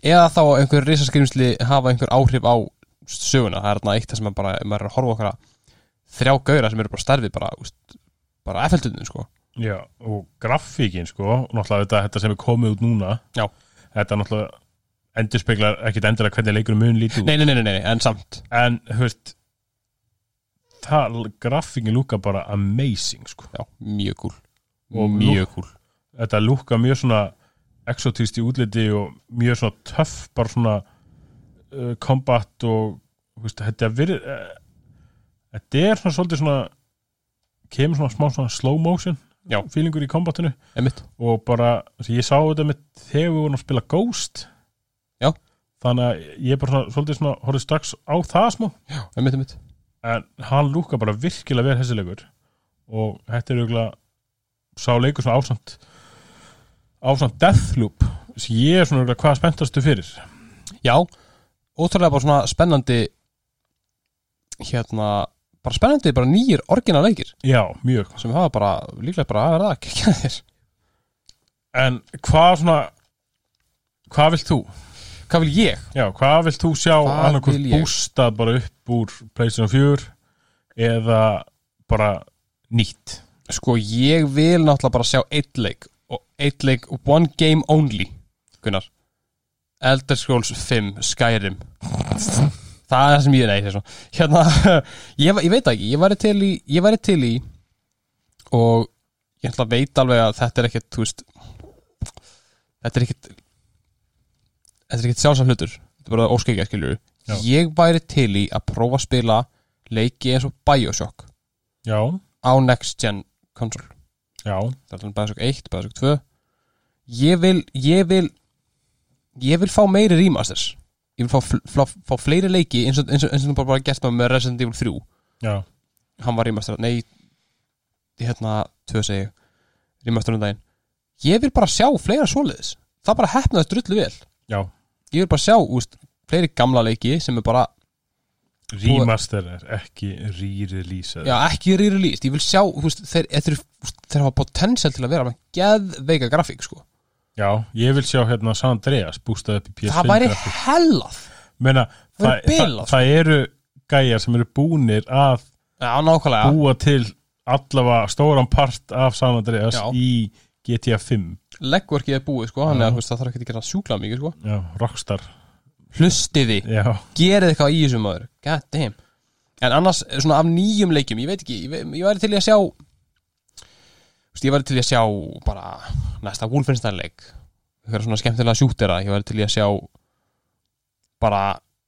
Speaker 1: eða þá að einhver risaskrimsli hafa einhver áhrif á söguna, það er þarna eitt það sem er bara, maður er að horfa okkar að þrjá gauðra sem eru bara stærfið bara, úst, bara effeldunin, sko.
Speaker 2: já og grafíkin sko og náttúrulega þetta, þetta sem er komið út núna
Speaker 1: Já.
Speaker 2: þetta náttúrulega endurspeglar ekkit endilega hvernig leikur mun lítið út
Speaker 1: Nei, nei, nei, nei, nei, en samt
Speaker 2: en þú veist það grafíkin lúka bara amazing sko
Speaker 1: Já, mjög kúl
Speaker 2: Og
Speaker 1: Mjög kúl
Speaker 2: þetta lúka mjög svona exotist í útliti og mjög svona töff bara svona uh, combat og þú veist, þetta, vir, uh, þetta er svona svolítið svona kemur svona smá svona slow motion
Speaker 1: Já.
Speaker 2: feelingur í kombatinu
Speaker 1: Einmitt.
Speaker 2: og bara, þessi, ég sá þetta með þegar við vorum að spila Ghost
Speaker 1: Já.
Speaker 2: þannig að ég bara svona, svolítið svona horfði strax á það smá
Speaker 1: Einmitt, einmitt
Speaker 2: en hann lúka bara virkilega vel þessi leikur og þetta er auðvitað sá leikur svona ásamt ásamt Deathloop sem ég er svona auðvitað hvað spenntastu fyrir
Speaker 1: Já, ótrúlega bara svona spennandi hérna bara spennandi, bara nýjir orginaleikir
Speaker 2: Já, mjög
Speaker 1: sem hafa bara, líklega bara að verða að kekja þér
Speaker 2: En hvað svona Hvað vilt þú?
Speaker 1: Hvað vil ég?
Speaker 2: Já, hvað vilt þú sjá
Speaker 1: Hvað
Speaker 2: annarkvort
Speaker 1: vil ég?
Speaker 2: bústað bara upp úr Playstation 4 eða bara nýtt
Speaker 1: Sko, ég vil náttúrulega bara sjá eitt leik og eitt leik, one game only Gunnar Elder Scrolls 5, Skyrim Það er það sem ég nei, þessu. Hérna, [LAUGHS] ég, va- ég veit það ekki Ég væri til í, ég væri til í og ég ætla að veit alveg að þetta er ekkert, þú veist þetta er ekkert þetta er ekkert sjálfsam hlutur þetta er bara óskækja, skiljur
Speaker 2: Já.
Speaker 1: Ég væri til í að prófa að spila leiki eins og Bioshock
Speaker 2: Já,
Speaker 1: á next gen console
Speaker 2: já,
Speaker 1: Það er alveg Bioshock 1, Bioshock 2 Ég vil, ég vil Ég vil fá meiri remasters Ég vil fá, fl- fá, fá fleiri leiki eins og, eins og, eins og bara, bara gert maður með Resident Evil 3
Speaker 2: já
Speaker 1: Hann var remaster, nei Hérna, tvö segi ég, Remaster um daginn Ég vil bara sjá fleira svoleiðis Það bara hefnaði drullu vel
Speaker 2: Já.
Speaker 1: Ég vil bara sjá, úst, fleiri gamla leiki sem er bara
Speaker 2: Remaster er ekki re-release
Speaker 1: Já, ekki re-released, ég vil sjá þú veist, þeir, þeir, þeir, þeir hafa potential til að vera með geðveika grafík, sko
Speaker 2: já, ég vil sjá hérna San Andreas bústað upp í PS5
Speaker 1: Það væri
Speaker 2: grafík.
Speaker 1: hellað
Speaker 2: Meina,
Speaker 1: Það
Speaker 2: það,
Speaker 1: væri bilað, sko.
Speaker 2: það, það eru gæjar sem eru búnir að
Speaker 1: Já, nákvæmlega
Speaker 2: búa til allavega stóran part af San Andreas
Speaker 1: Já.
Speaker 2: í GTA 5
Speaker 1: leggverkið er búið sko, hann
Speaker 2: Já.
Speaker 1: er að það þarf ekki að gera sjúkla mikið sko.
Speaker 2: Já, Rockstar
Speaker 1: hlustiði,
Speaker 2: Já,
Speaker 1: gerið eitthvað í þessum maður god damn en annars, svona af nýjum leikjum, ég veit ekki ég, ve- ég væri til í að sjá Þú veist, ég væri til í að sjá bara næsta Wolfenstein leik eitthvað svona skemmtilega sjútera, ég væri til í að sjá bara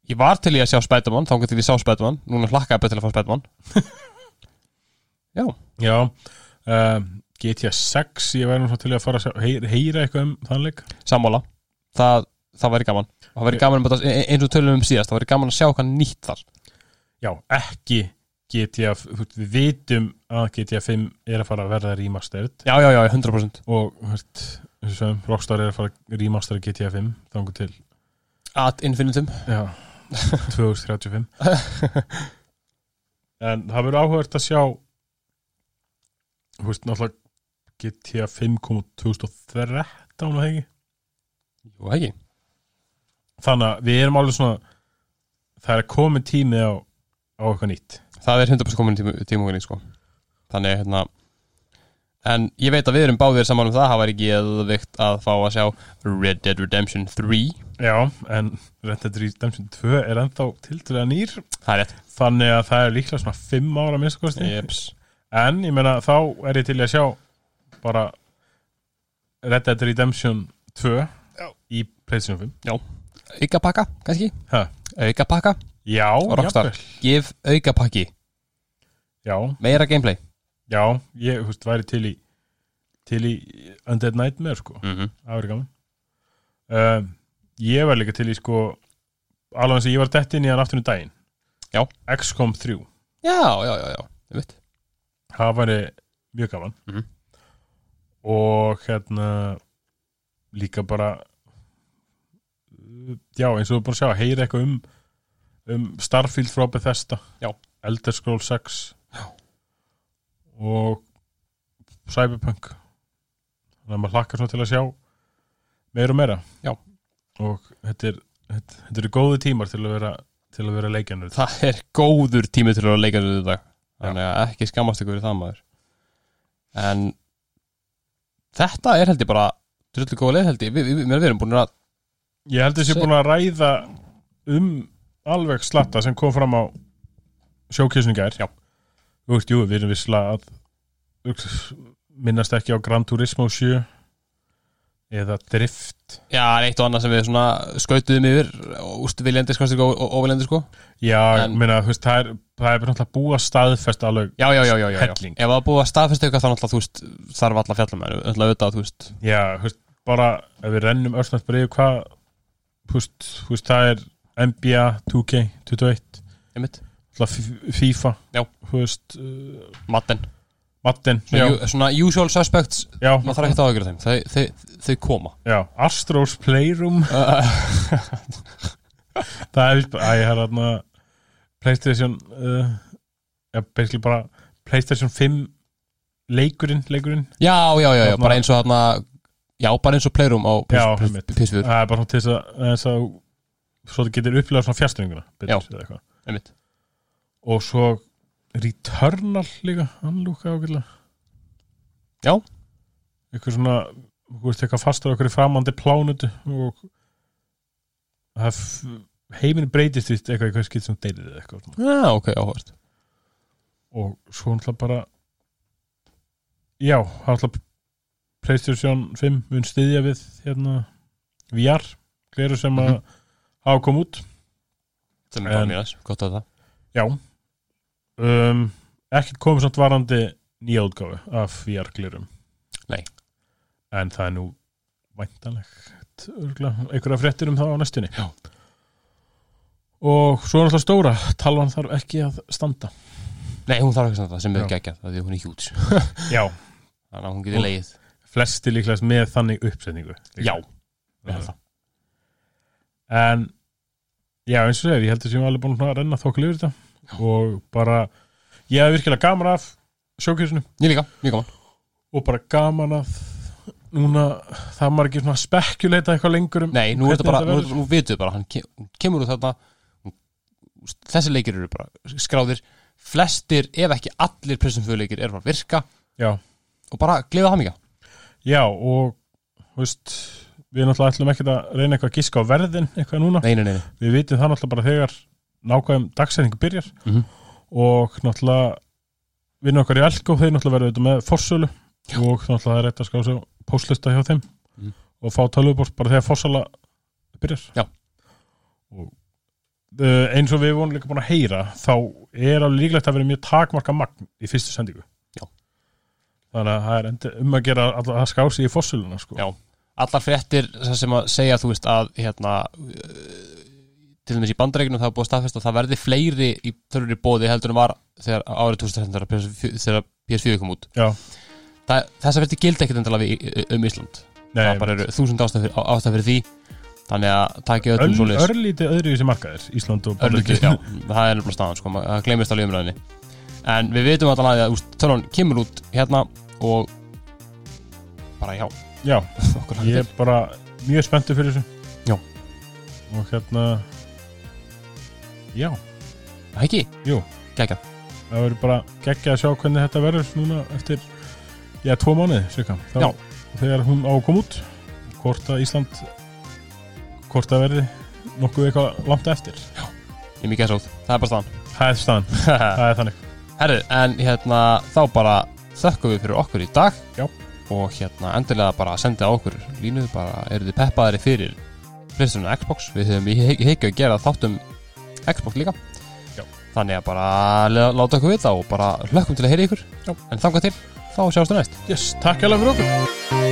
Speaker 1: ég var til í að sjá Spiderman, þá gæti ég sá Spiderman núna hlakkaði betur til að fá Spiderman já,
Speaker 2: já uh, GTA 6 Ég væri nú svo til að fara að sjá- heyra, heyra eitthvað um þannleik
Speaker 1: sammála það, það væri gaman það væri gaman, um þetta- eins og tölum um síðast það væri gaman að sjá hvað nýtt þar
Speaker 2: Já, ekki GTA f- þú veist, Við vitum að GTA 5 er að fara að verða remastered
Speaker 1: Já, já, já, 100%
Speaker 2: og þú veist, eins og sem, Rockstar er að fara að remastera GTA 5 þangu til
Speaker 1: At infinitum
Speaker 2: [LAUGHS] Já, 2035 En það verður áhugavert að sjá Þú veist, náttúrulega GTA 5 kom út 2013 og hegi
Speaker 1: Jú, ekki
Speaker 2: Þannig að við erum alveg svona Það er komin tími á, á eitthvað nýtt
Speaker 1: Það er 100% komin tíma, tímungunni, sko Þannig, hérna En ég veit að við erum báðir saman um það Það væri geðvikt að fá að sjá Red Dead Redemption 3
Speaker 2: Já, en Red Dead Redemption 2 er ennþá tildulega nýr
Speaker 1: Það er rétt
Speaker 2: Þannig að það er líklega svona 5 ára minnskosti
Speaker 1: Jeps
Speaker 2: En ég meina þá er ég til í að sjá bara Red Dead Redemption 2 Já. í PlayStation 5
Speaker 1: Auka pakka, kannski
Speaker 2: Ha.
Speaker 1: Auka pakka
Speaker 2: Já,
Speaker 1: Rockstar.
Speaker 2: jafnvel.
Speaker 1: Gif auka pakki
Speaker 2: Já,
Speaker 1: Meira gameplay
Speaker 2: já, ég húst væri til í til í Undead Nightmare sko,
Speaker 1: mm -hmm.
Speaker 2: það verið gaman um, Ég var líka til í sko alveg eins og ég var dett inn í hann aftur um daginn
Speaker 1: Já.
Speaker 2: XCOM 3
Speaker 1: Já, já, já, já Ég veit
Speaker 2: það væri mjög gaman
Speaker 1: Mhm.
Speaker 2: og hérna líka bara já eins og við búin að sjá að heyra eitthvað um um Starfield frá Bethesda
Speaker 1: Já.
Speaker 2: Elder Scrolls 6 já. og Cyberpunk þannig að maður hlakkar svona til að sjá meira og meira
Speaker 1: Já.
Speaker 2: og þetta er þetta, þetta eru góði tímar til að vera til að vera leikjanur
Speaker 1: Það er góður tími til að leika þetta dag Þannig að ekki skammast ykkur í það maður En Þetta er held ég bara Drullu góða leið held ég Við, við, við, við erum búin að
Speaker 2: Ég held að ég
Speaker 1: Se-
Speaker 2: sé búin að ræða um alveg slatta sem kom fram á sjókísinu gær Já Þú veist, jú, við erum visslega að þú veist, minnast ekki á Gran Turismo 7 eða Drift
Speaker 1: Já, það er eitt og annað sem við svona skautuðum yfir Úst viljandi skoðast ykkur og óviljandi sko
Speaker 2: Já,
Speaker 1: En-
Speaker 2: en, meina, þú veist, það er, það er náttúrulega búið að staðfest alveg
Speaker 1: Já, já, já, já, já, já.
Speaker 2: Helling.
Speaker 1: Ef það er búið að staðfesta ykkur þá náttúrulega þú veist Þarf alla fjallum en öll að auðvitað þú veist
Speaker 2: Já, þú veist, bara ef við rennum örsnætt bara yfir hvað þú veist, þú veist, það er NBA 2K 21,
Speaker 1: Einmitt
Speaker 2: náttúrulega FIFA
Speaker 1: Já.
Speaker 2: Þú veist, uh,
Speaker 1: Madden
Speaker 2: Madden
Speaker 1: Svona, ju, svona usual suspects
Speaker 2: já,
Speaker 1: Maður þarf ekki að ágjöra þeim Þau, þau, þau,
Speaker 2: [LAUGHS]
Speaker 1: koma
Speaker 2: Já, Astros Playroom Það er, æ, það er hérna Playstation uh, Já, já, basically bara Playstation 5 leikurinn, leikurinn
Speaker 1: já, já, já, já,
Speaker 2: Þarna-
Speaker 1: bara eins og þarna já, bara eins og Playroom á
Speaker 2: Já,
Speaker 1: PS-
Speaker 2: einmitt.
Speaker 1: PS4
Speaker 2: það er bara svona til þess að, eh, þess að svo þú getur upplegað svona fjastönguna
Speaker 1: Já.
Speaker 2: betur, eða eitthvað.
Speaker 1: einmitt.
Speaker 2: og svo Returnal líka, hann lúka ákveðlega
Speaker 1: Já.
Speaker 2: eitthvað svona, þú veist eitthvað fastur okkur í framandi plánutu og það f- heiminn breytist víst eitthvað eitthvað skipt sem deilið eða eitthvað svona.
Speaker 1: já, ok, áhvert
Speaker 2: og svo náttúrulega bara já, það er náttúrulega Playstation 5 mun styðja við hérna VR gleru sem að
Speaker 1: Mhm.
Speaker 2: hafa kom út
Speaker 1: sem er bara
Speaker 2: En-
Speaker 1: mjög næs, gott að það
Speaker 2: já um, ekkert komið samt varandi nýja útgáfu af VR glerum
Speaker 1: Nei.
Speaker 2: en það er nú væntanlegt örgla, einhverja fréttir um það á næstunni
Speaker 1: Já.
Speaker 2: og svo er náttúrulega stóra talvan þarf ekki að standa
Speaker 1: nei, hún þarf ekki að það sem er
Speaker 2: Já.
Speaker 1: geggjað það því hún er hjút,
Speaker 2: já,
Speaker 1: þannig að hún getur
Speaker 2: Og-
Speaker 1: leið
Speaker 2: flesti líklegast með þannig uppsetningu
Speaker 1: já,
Speaker 2: Já.
Speaker 1: er það.
Speaker 2: en já eins og segir, ég held að séum alveg búin að renna þokkul yfir þetta og bara ég hef virkilega gaman af sjókjörsinu
Speaker 1: ég líka, mjög gaman
Speaker 2: og bara gaman af núna það margir svona spekuleita eitthvað lengur um
Speaker 1: Nei, nú er
Speaker 2: Hvernig
Speaker 1: þetta bara,
Speaker 2: þetta
Speaker 1: nú,
Speaker 2: verður?
Speaker 1: nú vitum við bara hann ke hún kemur úr þarna hún- þessi leikir eru bara skráðir flestir, ef ekki allir pressumfjöleikir eru bara að virka
Speaker 2: já,
Speaker 1: og bara glefa það mikið
Speaker 2: já og þú veist, við náttúrulega ætlum ekkert að reyna eitthvað að giska á verðin eitthvað núna
Speaker 1: Nei, nei, nei, nei.
Speaker 2: við vitum það náttúrulega bara þegar nákvæm dagsetningu byrjar
Speaker 1: Mhm.
Speaker 2: og náttúrulega vinna okkar í Elko, þeir náttúrulega verður auðvitað með forsölu og náttúrulega það er rétt að skrá sig á póstlista hjá þeim
Speaker 1: Mhm.
Speaker 2: og fá tölvuport bara þegar forsala byrjar
Speaker 1: Já.
Speaker 2: og uh, eins og við vorum líka búin að heyra þá er alveg líklegt að vera mjög takmarka magn í fyrstu sendingu
Speaker 1: Já.
Speaker 2: þannig að það er endi, um að gera að, að skrá sig í forsöluna sko.
Speaker 1: Já. allar fréttir sem- sem að segja þú veist að hérna uh, til dæmis í bandareikinu það er búið að staðfesta að það verði fleiri í tölur í bóði heldur en var þegar árið 2000 þegar PS4 þegar PS4 kom út
Speaker 2: Já.
Speaker 1: það, þessar fréttir gildi ekkert endala við, í- um Ísland
Speaker 2: Nei,
Speaker 1: það bara eru þúsund ástæð fyrir, ástæð fyrir því þannig að takið öllum
Speaker 2: öll,
Speaker 1: svoleiðis
Speaker 2: örlítið öðru í þessi markaðir Ísland og
Speaker 1: örlítið,
Speaker 2: Bandaríkin.
Speaker 1: já, það er nefnilega staðan sko, ma- það gleymist alveg umræðinni en við veitum að það að úst, tölun kemur út hérna og bara já, [LAUGHS]
Speaker 2: [LAUGHS] já,
Speaker 1: okkur
Speaker 2: ég
Speaker 1: hægt
Speaker 2: er bara mjög spenntur fyrir þessu
Speaker 1: Já.
Speaker 2: og hérna já,
Speaker 1: til ekki,
Speaker 2: jú
Speaker 1: Geggjað.
Speaker 2: það verður bara geggja að sjá hvernig þetta verður núna eftir, já, tvo mánuði cirka, Þá-
Speaker 1: Já.
Speaker 2: þegar hún á að koma út hvort að Ísland hvort að verði nokkuð eitthvað langt eftir
Speaker 1: ég er mikið að sót, það er bara
Speaker 2: [LAUGHS] það er staðan,
Speaker 1: staðan
Speaker 2: það er þannig
Speaker 1: herru, en hérna þá bara þökkum við fyrir okkur í dag
Speaker 2: Já.
Speaker 1: og hérna endilega bara sendið á okkur línuð bara, eru þið peppaðari fyrir flestunum Xbox, við höfum í hygg- hyggju að gera þáttum Xbox líka
Speaker 2: Já.
Speaker 1: þannig að bara le- láta okkur vita og bara hlökkum til að heyra í ykkur
Speaker 2: Já.
Speaker 1: en þangað til, þá sjáumstu næst
Speaker 2: yes, takk alveg fyrir okkur